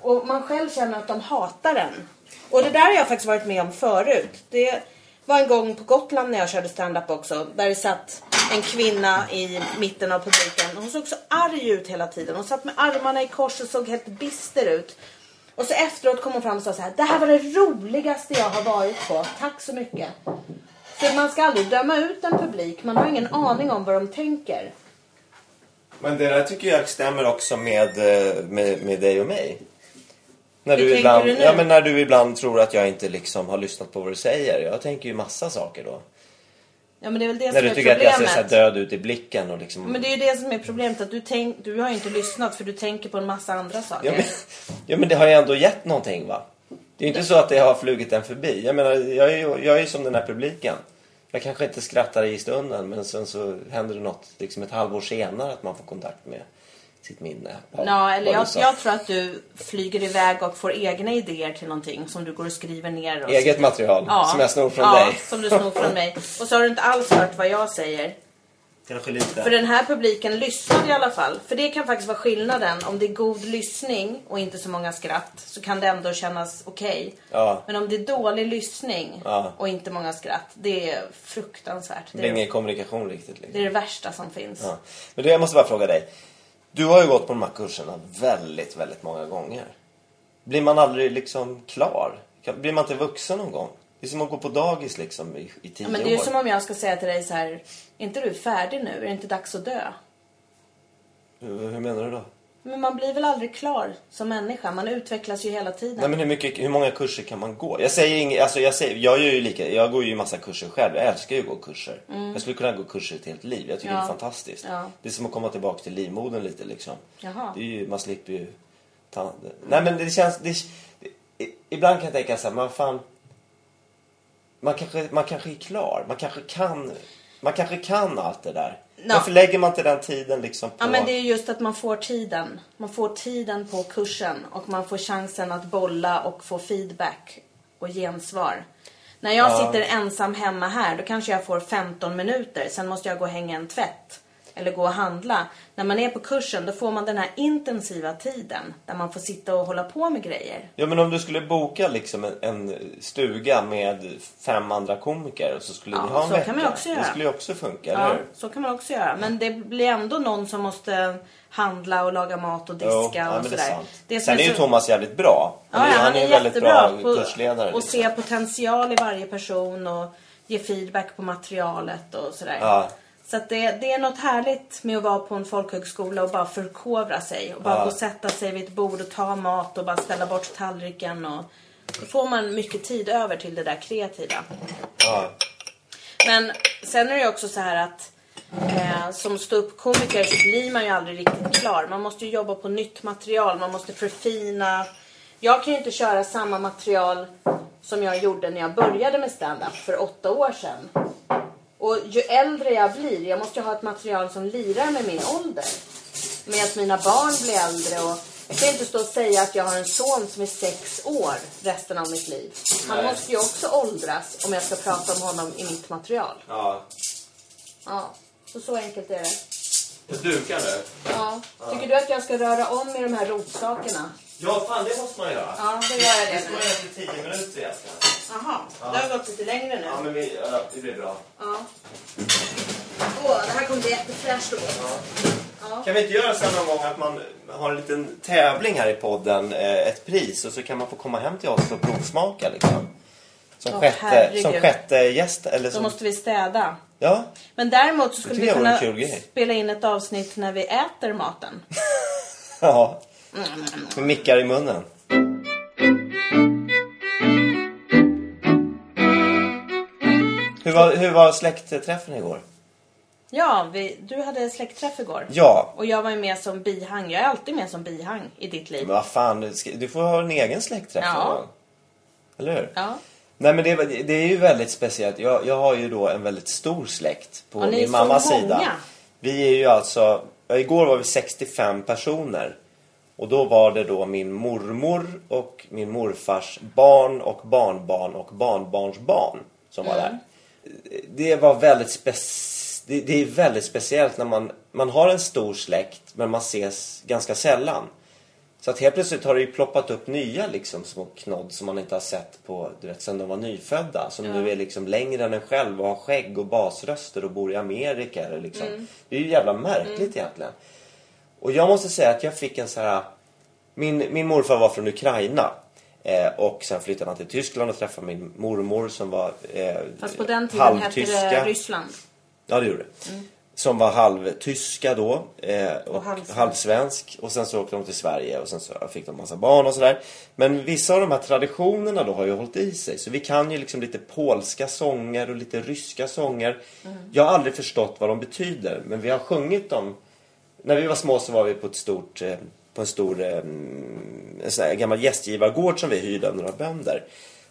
Speaker 1: Och man själv känner att de hatar den. Och det där har jag faktiskt varit med om förut. Det var en gång på Gotland när jag körde standup också. Där det satt en kvinna i mitten av publiken. Hon såg så arg ut hela tiden. Hon satt med armarna i kors och såg helt bister ut. Och så efteråt kom hon fram och sa så här. Det här var det roligaste jag har varit på. Tack så mycket. Så man ska aldrig döma ut en publik. Man har ingen aning om vad de tänker.
Speaker 2: Men det där tycker jag stämmer också med, eh, med, med dig och mig. När
Speaker 1: Hur
Speaker 2: du,
Speaker 1: tänker
Speaker 2: ibland,
Speaker 1: du nu?
Speaker 2: ja, men när du ibland tror att jag inte liksom har lyssnat på vad du säger. Jag tänker ju massa saker då.
Speaker 1: Ja men det är väl det
Speaker 2: När
Speaker 1: som
Speaker 2: du
Speaker 1: är
Speaker 2: tycker att jag ser
Speaker 1: Alltså, problemet.
Speaker 2: så här död ut i blicken och liksom...
Speaker 1: men det är ju det som är problemet. Att du, tänk, du har ju inte lyssnat för du tänker på en massa andra saker.
Speaker 2: Ja, men, ja men det har ju ändå gett någonting va? Det är ju inte så att det har flugit en förbi. Jag menar, jag är ju jag är ju som den här publiken. Jag kanske inte skrattar i stunden men sen så händer det något liksom ett halvår senare att man får kontakt med sitt minne. av
Speaker 1: Ja, eller
Speaker 2: vad du
Speaker 1: jag,
Speaker 2: sa.
Speaker 1: jag tror att du flyger iväg och får egna idéer till någonting som du går och skriver ner. Och
Speaker 2: Eget material
Speaker 1: Ja.
Speaker 2: som jag snor från
Speaker 1: ja,
Speaker 2: dig.
Speaker 1: som du snor från mig. Och så har du inte alls hört vad jag säger.
Speaker 2: Kanske lite.
Speaker 1: För den här publiken lyssnar i alla fall. För det kan faktiskt vara skillnaden. Om det är god lyssning och inte så många skratt så kan det ändå kännas okej.
Speaker 2: Ja.
Speaker 1: Men om det är dålig lyssning
Speaker 2: Ja.
Speaker 1: och inte många skratt, det är fruktansvärt. Det
Speaker 2: Det blir
Speaker 1: är,
Speaker 2: ingen kommunikation riktigt. Liksom.
Speaker 1: det är det värsta som finns.
Speaker 2: Ja. Men du, jag måste bara fråga dig. Du har ju gått på de här kurserna väldigt, väldigt många gånger. Blir man aldrig liksom klar? Kan- Blir man inte vuxen någon gång? Det är som att gå på dagis liksom i, i tio
Speaker 1: Ja, men det är ju
Speaker 2: år.
Speaker 1: som om jag ska säga till dig så här, är inte du färdig nu? Är det inte dags att dö?
Speaker 2: Hur, hur menar du då?
Speaker 1: Men man blir väl aldrig klar som människa? Man utvecklas ju hela tiden.
Speaker 2: Nej, men hur, mycket, hur många kurser kan man gå? Jag säger inget, alltså jag, säger, jag, gör ju lika, jag går ju massa kurser själv. Jag älskar ju att gå kurser. Jag skulle kunna gå kurser ett helt liv. Jag tycker
Speaker 1: Mm. Ja.
Speaker 2: det är fantastiskt.
Speaker 1: Ja.
Speaker 2: Det är som att komma tillbaka till livmodern lite liksom.
Speaker 1: Jaha.
Speaker 2: Det är ju, man slipper ju ta, Nej men det känns... Det, i- ibland kan jag tänka så här, man fan... Man kanske, man kanske är klar. Man kanske kan... Man kanske kan allt det där. Varför lägger man inte den tiden liksom på...
Speaker 1: Ja, men det är just att man får tiden. Man får tiden på kursen och man får chansen att bolla och få feedback och gensvar. När jag
Speaker 2: Ja.
Speaker 1: sitter ensam hemma här, då kanske jag får 15 minuter. Sen måste jag gå och hänga en tvätt eller gå och handla. När man är på kursen, då får man den här intensiva tiden där man får sitta och hålla på med grejer.
Speaker 2: Ja men om du skulle boka liksom en, en stuga med fem andra komiker och så skulle
Speaker 1: Ja,
Speaker 2: ni ha en
Speaker 1: så
Speaker 2: vecka.
Speaker 1: kan man ju också
Speaker 2: Det
Speaker 1: göra.
Speaker 2: skulle ju också funka, eller
Speaker 1: Ja,
Speaker 2: hur?
Speaker 1: så kan man också göra. Men det blir ändå någon som måste handla och laga mat och diska
Speaker 2: Jo,
Speaker 1: och
Speaker 2: ja, men det
Speaker 1: sådär.
Speaker 2: är sant.
Speaker 1: Det som
Speaker 2: Sen är ju
Speaker 1: så-
Speaker 2: Thomas jävligt bra.
Speaker 1: Ja, ja, han är
Speaker 2: ju en väldigt
Speaker 1: jättebra
Speaker 2: bra
Speaker 1: på
Speaker 2: kursledare.
Speaker 1: och
Speaker 2: liksom.
Speaker 1: se potential i varje person och ge feedback på materialet och sådär.
Speaker 2: Ja.
Speaker 1: Så att det, det är något härligt med att vara på en folkhögskola och bara förkovra sig och bara
Speaker 2: Ja.
Speaker 1: gå och sätta sig vid ett bord och ta mat och bara ställa bort tallriken och då får man mycket tid över till det där kreativa.
Speaker 2: ja.
Speaker 1: Men sen är det ju också så här att eh, som ståuppkomiker så blir man ju aldrig riktigt klar. Man måste ju jobba på nytt material, man måste förfina. Jag kan ju inte köra samma material som jag gjorde när jag började med stand-up för åtta år sedan. Och ju äldre jag blir, jag måste ju ha ett material som lirar med min ålder. Med att mina barn blir äldre och jag kan ju inte stå och säga att jag har en son som är sex år resten av mitt liv. Han
Speaker 2: Nej.
Speaker 1: måste ju också åldras om jag ska prata om honom i mitt material.
Speaker 2: ja.
Speaker 1: Ja, så, så enkelt är det.
Speaker 2: Jag dukar nu.
Speaker 1: Ja. Tycker du att jag ska röra om i de här rotsakerna?
Speaker 2: Ja, fan det måste man göra.
Speaker 1: Ja, då gör jag det nu.
Speaker 2: efter tio minuter egentligen.
Speaker 1: Jaha, det har gått lite längre nu.
Speaker 2: men vi, ja, det blir bra.
Speaker 1: Ja. Åh, det här kommer bli jättefräscht och gott. Ja.
Speaker 2: Kan vi inte göra så här någon gång att man har en liten tävling här i podden, eh, ett pris och så kan man få komma hem till oss och provsmaka liksom. Som,
Speaker 1: Åh,
Speaker 2: sjätte,
Speaker 1: herregud.
Speaker 2: som sjätte gäst eller
Speaker 1: Då
Speaker 2: som...
Speaker 1: måste vi städa.
Speaker 2: Ja,
Speaker 1: Men däremot så skulle
Speaker 2: Det tycker
Speaker 1: vi
Speaker 2: jag vore en
Speaker 1: kunna
Speaker 2: kul grej.
Speaker 1: spela in ett avsnitt när vi äter maten.
Speaker 2: ja.
Speaker 1: Mm,
Speaker 2: Med mickar i munnen. Hur var, hur var släktträffen igår?
Speaker 1: Ja, vi, du hade släktträff igår.
Speaker 2: Ja,
Speaker 1: Och jag var ju med som bihang. Jag är alltid med som bihang i ditt liv.
Speaker 2: men vad fan, du ska- du får ha en egen släktträff
Speaker 1: Ja.
Speaker 2: någon gång. Eller hur?
Speaker 1: Ja.
Speaker 2: Nej men det, det är ju väldigt speciellt. Jag, jag har ju då en väldigt stor släkt på
Speaker 1: Ja, ni är
Speaker 2: min
Speaker 1: så
Speaker 2: mammas
Speaker 1: många.
Speaker 2: sida. Vi är ju alltså, ja, igår var vi 65 personer. Och då var det då min mormor och min morfars barn och barnbarn och barnbarnsbarn som
Speaker 1: Mm.
Speaker 2: var där. Det var väldigt spec- det, det är väldigt speciellt när man, man har en stor släkt men man ses ganska sällan. Så att helt plötsligt har det ju ploppat upp nya liksom, små knodd som man inte har sett på, du vet, sen de var nyfödda. Som nu är liksom längre än en själv och har skägg och basröster och bor i Amerika. Eller liksom.
Speaker 1: Mm.
Speaker 2: Det är ju jävla märkligt egentligen. Och jag måste säga att jag fick en så här... Min, min morfar var från Ukraina. Eh, och sen flyttade han till Tyskland och träffade min mormor som var eh,
Speaker 1: Fast på den tiden hette det Ryssland.
Speaker 2: Ja, det gjorde det. Som var halvtyska då eh, och,
Speaker 1: halvsvensk.
Speaker 2: halvsvensk. Och sen så åkte de till Sverige och sen så fick de massa barn och sådär. Men vissa av de här traditionerna då har ju hållit i sig. Så vi kan ju liksom lite polska sånger och lite ryska sånger. Jag har aldrig förstått vad de betyder, men vi har sjungit dem. När vi var små så var vi på ett stort eh, på en stor eh, en sån här gammal gästgivargård som vi hyrde av några bönder.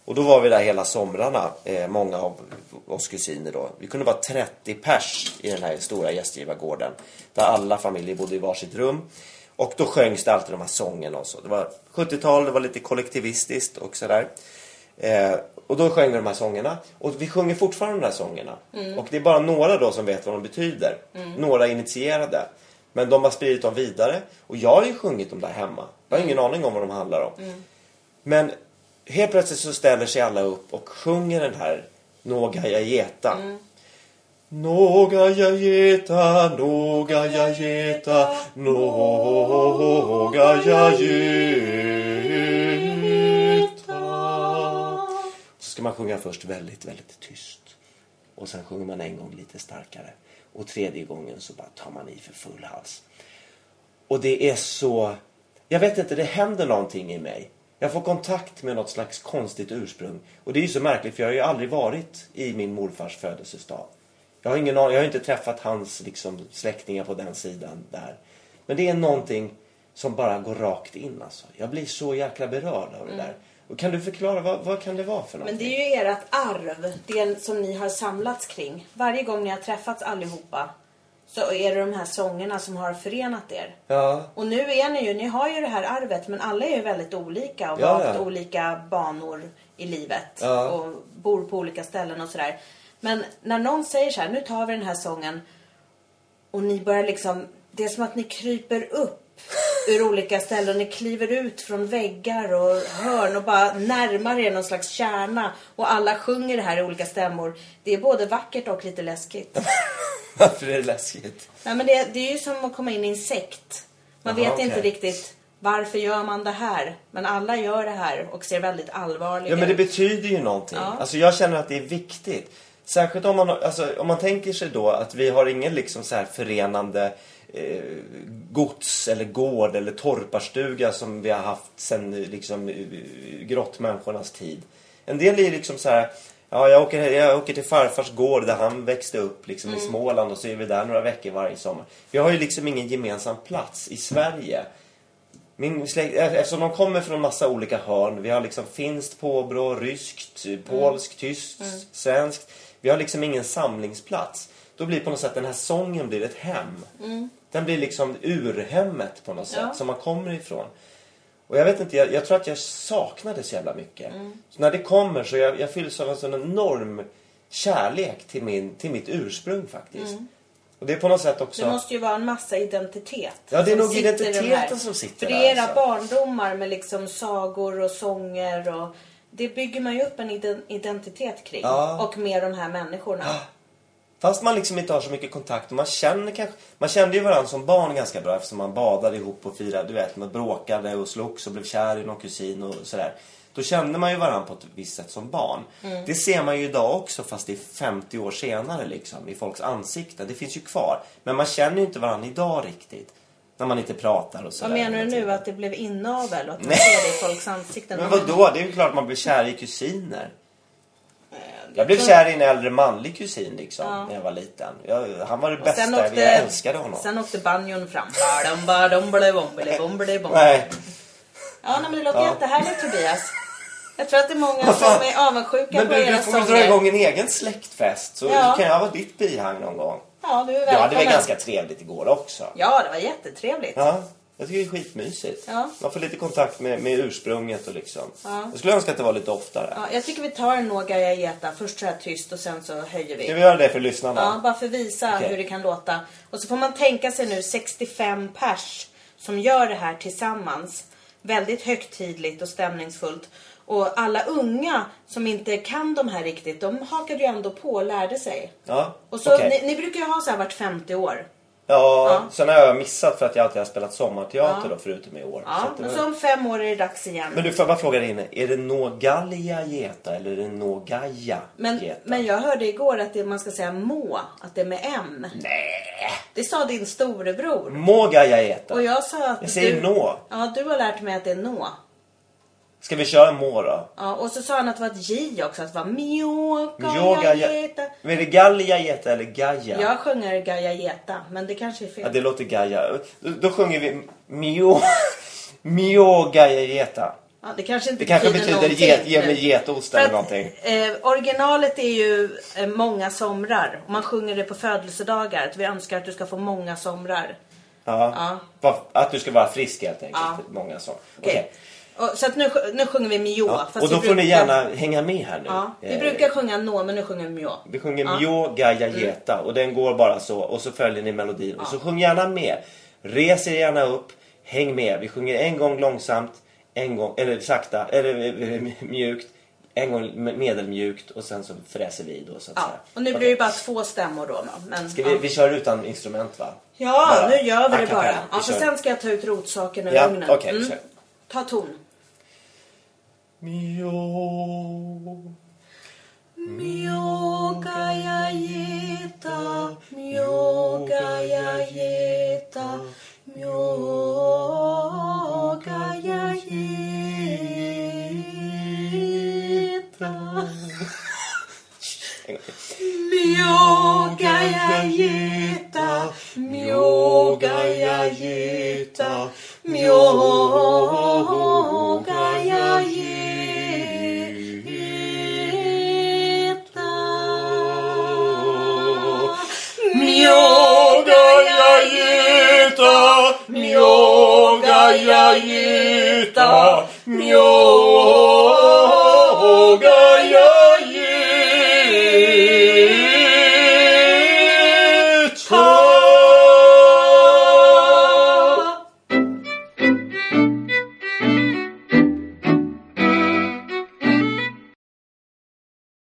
Speaker 2: Och då var vi där hela somrarna, eh, många av oss kusiner då. Vi kunde vara 30 pers i den här stora gästgivargården. Där alla familjer bodde i varsitt rum. Och då sjöngs det alltid de här sångerna och så. Det var 70-tal, det var lite kollektivistiskt och sådär. Eh, och då sjöng vi de här sångerna. Och vi sjunger fortfarande de här sångerna. Och det är bara några då som vet vad de betyder. Några initierade. Men de har spridit dem vidare. Och jag har ju sjungit dem där hemma. Jag har ingen aning om vad de handlar om. Men helt plötsligt så ställer sig alla upp och sjunger den här Någa jag geta. Någa jag geta, någa jag geta, någa jag geta. Så ska man sjunga först väldigt, väldigt tyst. Och sen sjunger man en gång lite starkare. Och tredje gången så bara tar man i för full hals. Och det är så... Jag vet inte, det händer någonting i mig. Jag får kontakt med något slags konstigt ursprung. Och det är ju så märkligt för jag har ju aldrig varit i min morfars födelsedag. Jag har ingen aning, jag har inte träffat hans liksom, släktingar på den sidan där. Men det är någonting som bara går rakt in alltså. Jag blir så jäkla berörd av det där. Och kan du förklara, vad, vad kan det vara för någonting?
Speaker 1: Mm. Men det är ju ert arv, det som ni har samlats kring. Varje gång ni har träffats allihopa så är det de här sångerna som har förenat er.
Speaker 2: Ja,
Speaker 1: Och nu är ni ju, ni har ju det här arvet men alla är ju väldigt olika och
Speaker 2: Ja,
Speaker 1: har haft
Speaker 2: ja.
Speaker 1: olika banor i livet
Speaker 2: Ja.
Speaker 1: och bor på olika ställen och sådär. Men när någon säger så här, nu tar vi den här sången och ni börjar liksom, det är som att ni kryper upp ur olika ställen och ni kliver ut från väggar och hörn och bara närmar er någon slags kärna och alla sjunger det här i olika stämmor. Det är både vackert och lite läskigt.
Speaker 2: Varför är det läskigt?
Speaker 1: Nej, men det, det är ju som att komma in i en sekt. Man
Speaker 2: Jaha,
Speaker 1: vet inte
Speaker 2: okej.
Speaker 1: riktigt varför gör man det här. Men alla gör det här och ser väldigt allvarliga
Speaker 2: Ja men det
Speaker 1: ut.
Speaker 2: betyder ju någonting.
Speaker 1: Ja.
Speaker 2: Alltså jag känner att det är viktigt. Särskilt om man, har- alltså, om man tänker sig då att vi har ingen liksom så här förenande eh, gods eller gård eller torparstuga som vi har haft sedan eh, liksom eh, grottmänniskornas tid. En del är liksom så här, ja jag åker, jag åker till farfars gård där han växte upp liksom i Småland och så är vi där några veckor varje sommar. Vi har ju liksom ingen gemensam plats i Sverige. Min släkt, eh, eftersom de kommer från massa olika hörn. Vi har liksom finskt, påbrå, ryskt, eh,
Speaker 1: Mm.
Speaker 2: polskt, tyskt, svenskt. Vi har liksom ingen samlingsplats. Då blir på något sätt den här sången blir ett hem. Den blir liksom urhemmet på något sätt,
Speaker 1: Mm. Ja.
Speaker 2: som man kommer ifrån. Och jag vet inte, jag, jag tror att jag saknade så jävla mycket.
Speaker 1: Mm.
Speaker 2: Så när det kommer så jag, jag fylls av en sån enorm kärlek till, min, till mitt ursprung faktiskt. Och det är på något sätt också...
Speaker 1: Det Mm. måste ju vara en massa identitet.
Speaker 2: Ja, det är
Speaker 1: som
Speaker 2: nog
Speaker 1: sitter i den här.
Speaker 2: identiteten som
Speaker 1: För
Speaker 2: sitter
Speaker 1: det är
Speaker 2: där,
Speaker 1: era
Speaker 2: alltså.
Speaker 1: barndomar med liksom sagor och sånger och... Det bygger man ju upp en iden- identitet kring.
Speaker 2: Ja. Ah,
Speaker 1: Och med de här människorna.
Speaker 2: Fast man liksom inte har så mycket kontakt och man känner kanske... Man kände ju varandra som barn ganska bra eftersom man badade ihop och firade, du vet, man bråkade och slogs och blev kär i någon kusin och sådär. Då kände man ju varandra på ett visst sätt som barn.
Speaker 1: Mm.
Speaker 2: Det ser man ju idag också fast det är 50 år senare liksom i folks ansikten. Det finns ju kvar. Men man känner ju inte varandra idag riktigt. När man inte pratar och
Speaker 1: Vad
Speaker 2: sådär.
Speaker 1: menar du
Speaker 2: hela
Speaker 1: nu?
Speaker 2: tiden.
Speaker 1: Att det blev inavel och att man ser det i folks ansikten?
Speaker 2: Men vadå? Det är ju klart man blir kär i kusiner. Jag blev kär i en äldre manlig kusin liksom när jag var liten. Jag, han var det
Speaker 1: Och
Speaker 2: bästa, jag älskade honom.
Speaker 1: Sen åkte banjon fram. Badum, badum, badum, badum, badum, badum.
Speaker 2: Nej.
Speaker 1: Ja, nej, men det låter
Speaker 2: Ja.
Speaker 1: jättehärligt Tobias. Jag tror att det är många
Speaker 2: Vad fan?
Speaker 1: som är avundsjuka
Speaker 2: Men
Speaker 1: på
Speaker 2: du,
Speaker 1: era
Speaker 2: du får väl dra
Speaker 1: sånger.
Speaker 2: igång en egen släktfest så
Speaker 1: Ja.
Speaker 2: kan jag vara ditt bihang någon gång.
Speaker 1: Ja, du är
Speaker 2: Jag hade
Speaker 1: välkommen.
Speaker 2: väl ganska trevligt igår också.
Speaker 1: Ja, det var jättetrevligt.
Speaker 2: Ja. Jag tycker det är skitmysigt.
Speaker 1: Ja.
Speaker 2: Man får lite kontakt med, med ursprunget och liksom.
Speaker 1: Ja.
Speaker 2: Jag skulle önska att det var lite oftare.
Speaker 1: Ja, jag tycker vi tar en några geta. Först så här tyst och sen så höjer
Speaker 2: Ska
Speaker 1: vi.
Speaker 2: vi göra det för lyssnarna?
Speaker 1: Ja, bara för att visa
Speaker 2: Okej.
Speaker 1: hur det kan låta. Och så får man tänka sig nu 65 pers som gör det här tillsammans. Väldigt högtidligt och stämningsfullt. Och alla unga som inte kan de här riktigt, de hakade ju ändå på och lärde sig.
Speaker 2: Ja,
Speaker 1: Och så,
Speaker 2: okej.
Speaker 1: ni, ni brukar ju ha så här vart 50 år.
Speaker 2: Ja,
Speaker 1: Ja.
Speaker 2: sen har jag missat för att jag alltid har spelat sommarteater
Speaker 1: Ja.
Speaker 2: då förutom i år.
Speaker 1: Ja,
Speaker 2: Så att det
Speaker 1: men
Speaker 2: var-
Speaker 1: så om fem år är det dags igen.
Speaker 2: men du, får jag bara fråga dig inne. Är det Någalia geta eller är det Någaja
Speaker 1: Men,
Speaker 2: geta?
Speaker 1: men jag hörde igår att det, man ska säga må, att det är med M.
Speaker 2: Nej!
Speaker 1: Det sa din storebror.
Speaker 2: Mågaja geta.
Speaker 1: Och jag sa att
Speaker 2: Jag säger
Speaker 1: du...
Speaker 2: nå.
Speaker 1: Ja, du har lärt mig att det är nå.
Speaker 2: Ska vi köra må då?
Speaker 1: Ja, och så sa han att det var ett J också, att det var
Speaker 2: Mjogajeta.
Speaker 1: mjogajeta.
Speaker 2: Men är det Gallia geta eller Gaja?
Speaker 1: Jag sjunger gajajeta, men det kanske är fel.
Speaker 2: Ja, det låter Gaja. Då, då sjunger vi Mio... Miogaja geta.
Speaker 1: Ja, det kanske inte
Speaker 2: Det kanske betyder
Speaker 1: någonting
Speaker 2: get, ge mig
Speaker 1: nu.
Speaker 2: getost
Speaker 1: För
Speaker 2: eller
Speaker 1: att,
Speaker 2: någonting.
Speaker 1: Eh, originalet är ju eh, många somrar. Och man sjunger det på födelsedagar. Att vi önskar att du ska få många somrar.
Speaker 2: Ja.
Speaker 1: Ja.
Speaker 2: Va- Att du ska vara frisk helt enkelt.
Speaker 1: Ja.
Speaker 2: Många så.
Speaker 1: Okej. Och, så att nu, sj- nu sjunger vi mjå.
Speaker 2: Ja.
Speaker 1: fast
Speaker 2: Och då
Speaker 1: vi
Speaker 2: får ni
Speaker 1: brukar-
Speaker 2: gärna hänga med här nu.
Speaker 1: Ja, vi
Speaker 2: Eh,
Speaker 1: brukar sjunga nå, men nu sjunger vi mjå.
Speaker 2: Vi sjunger Mjå Gaia
Speaker 1: Mm.
Speaker 2: Geta och den går bara så och så följer ni melodin. Och så sjung gärna med. Res er gärna upp. Häng med. Vi sjunger en gång långsamt, en gång, eller sakta, eller eh, eh, mjukt. En gång me- medelmjukt och sen så fräser vi då så att
Speaker 1: Ja,
Speaker 2: säga.
Speaker 1: och nu blir
Speaker 2: Okej.
Speaker 1: det bara två stämmor då. Men,
Speaker 2: Ska vi,
Speaker 1: ja.
Speaker 2: vi kör utan instrument va?
Speaker 1: ja,
Speaker 2: Bara.
Speaker 1: nu gör vi
Speaker 2: A
Speaker 1: det
Speaker 2: cappella.
Speaker 1: bara. Ja,
Speaker 2: Vi
Speaker 1: för
Speaker 2: kör.
Speaker 1: sen ska jag ta ut rotsaken ur
Speaker 2: Ja,
Speaker 1: ugnen. Mm.
Speaker 2: okej, kör.
Speaker 1: Ta ton.
Speaker 2: Mjå.
Speaker 1: Mjogajajeta,
Speaker 2: mjogajajeta,
Speaker 1: mjogajajeta.
Speaker 2: En gång till.
Speaker 1: Mjogajajeta, mjogajajeta, mjogajajeta. Mjogajajeta, mjogajajeta, mjogajajeta.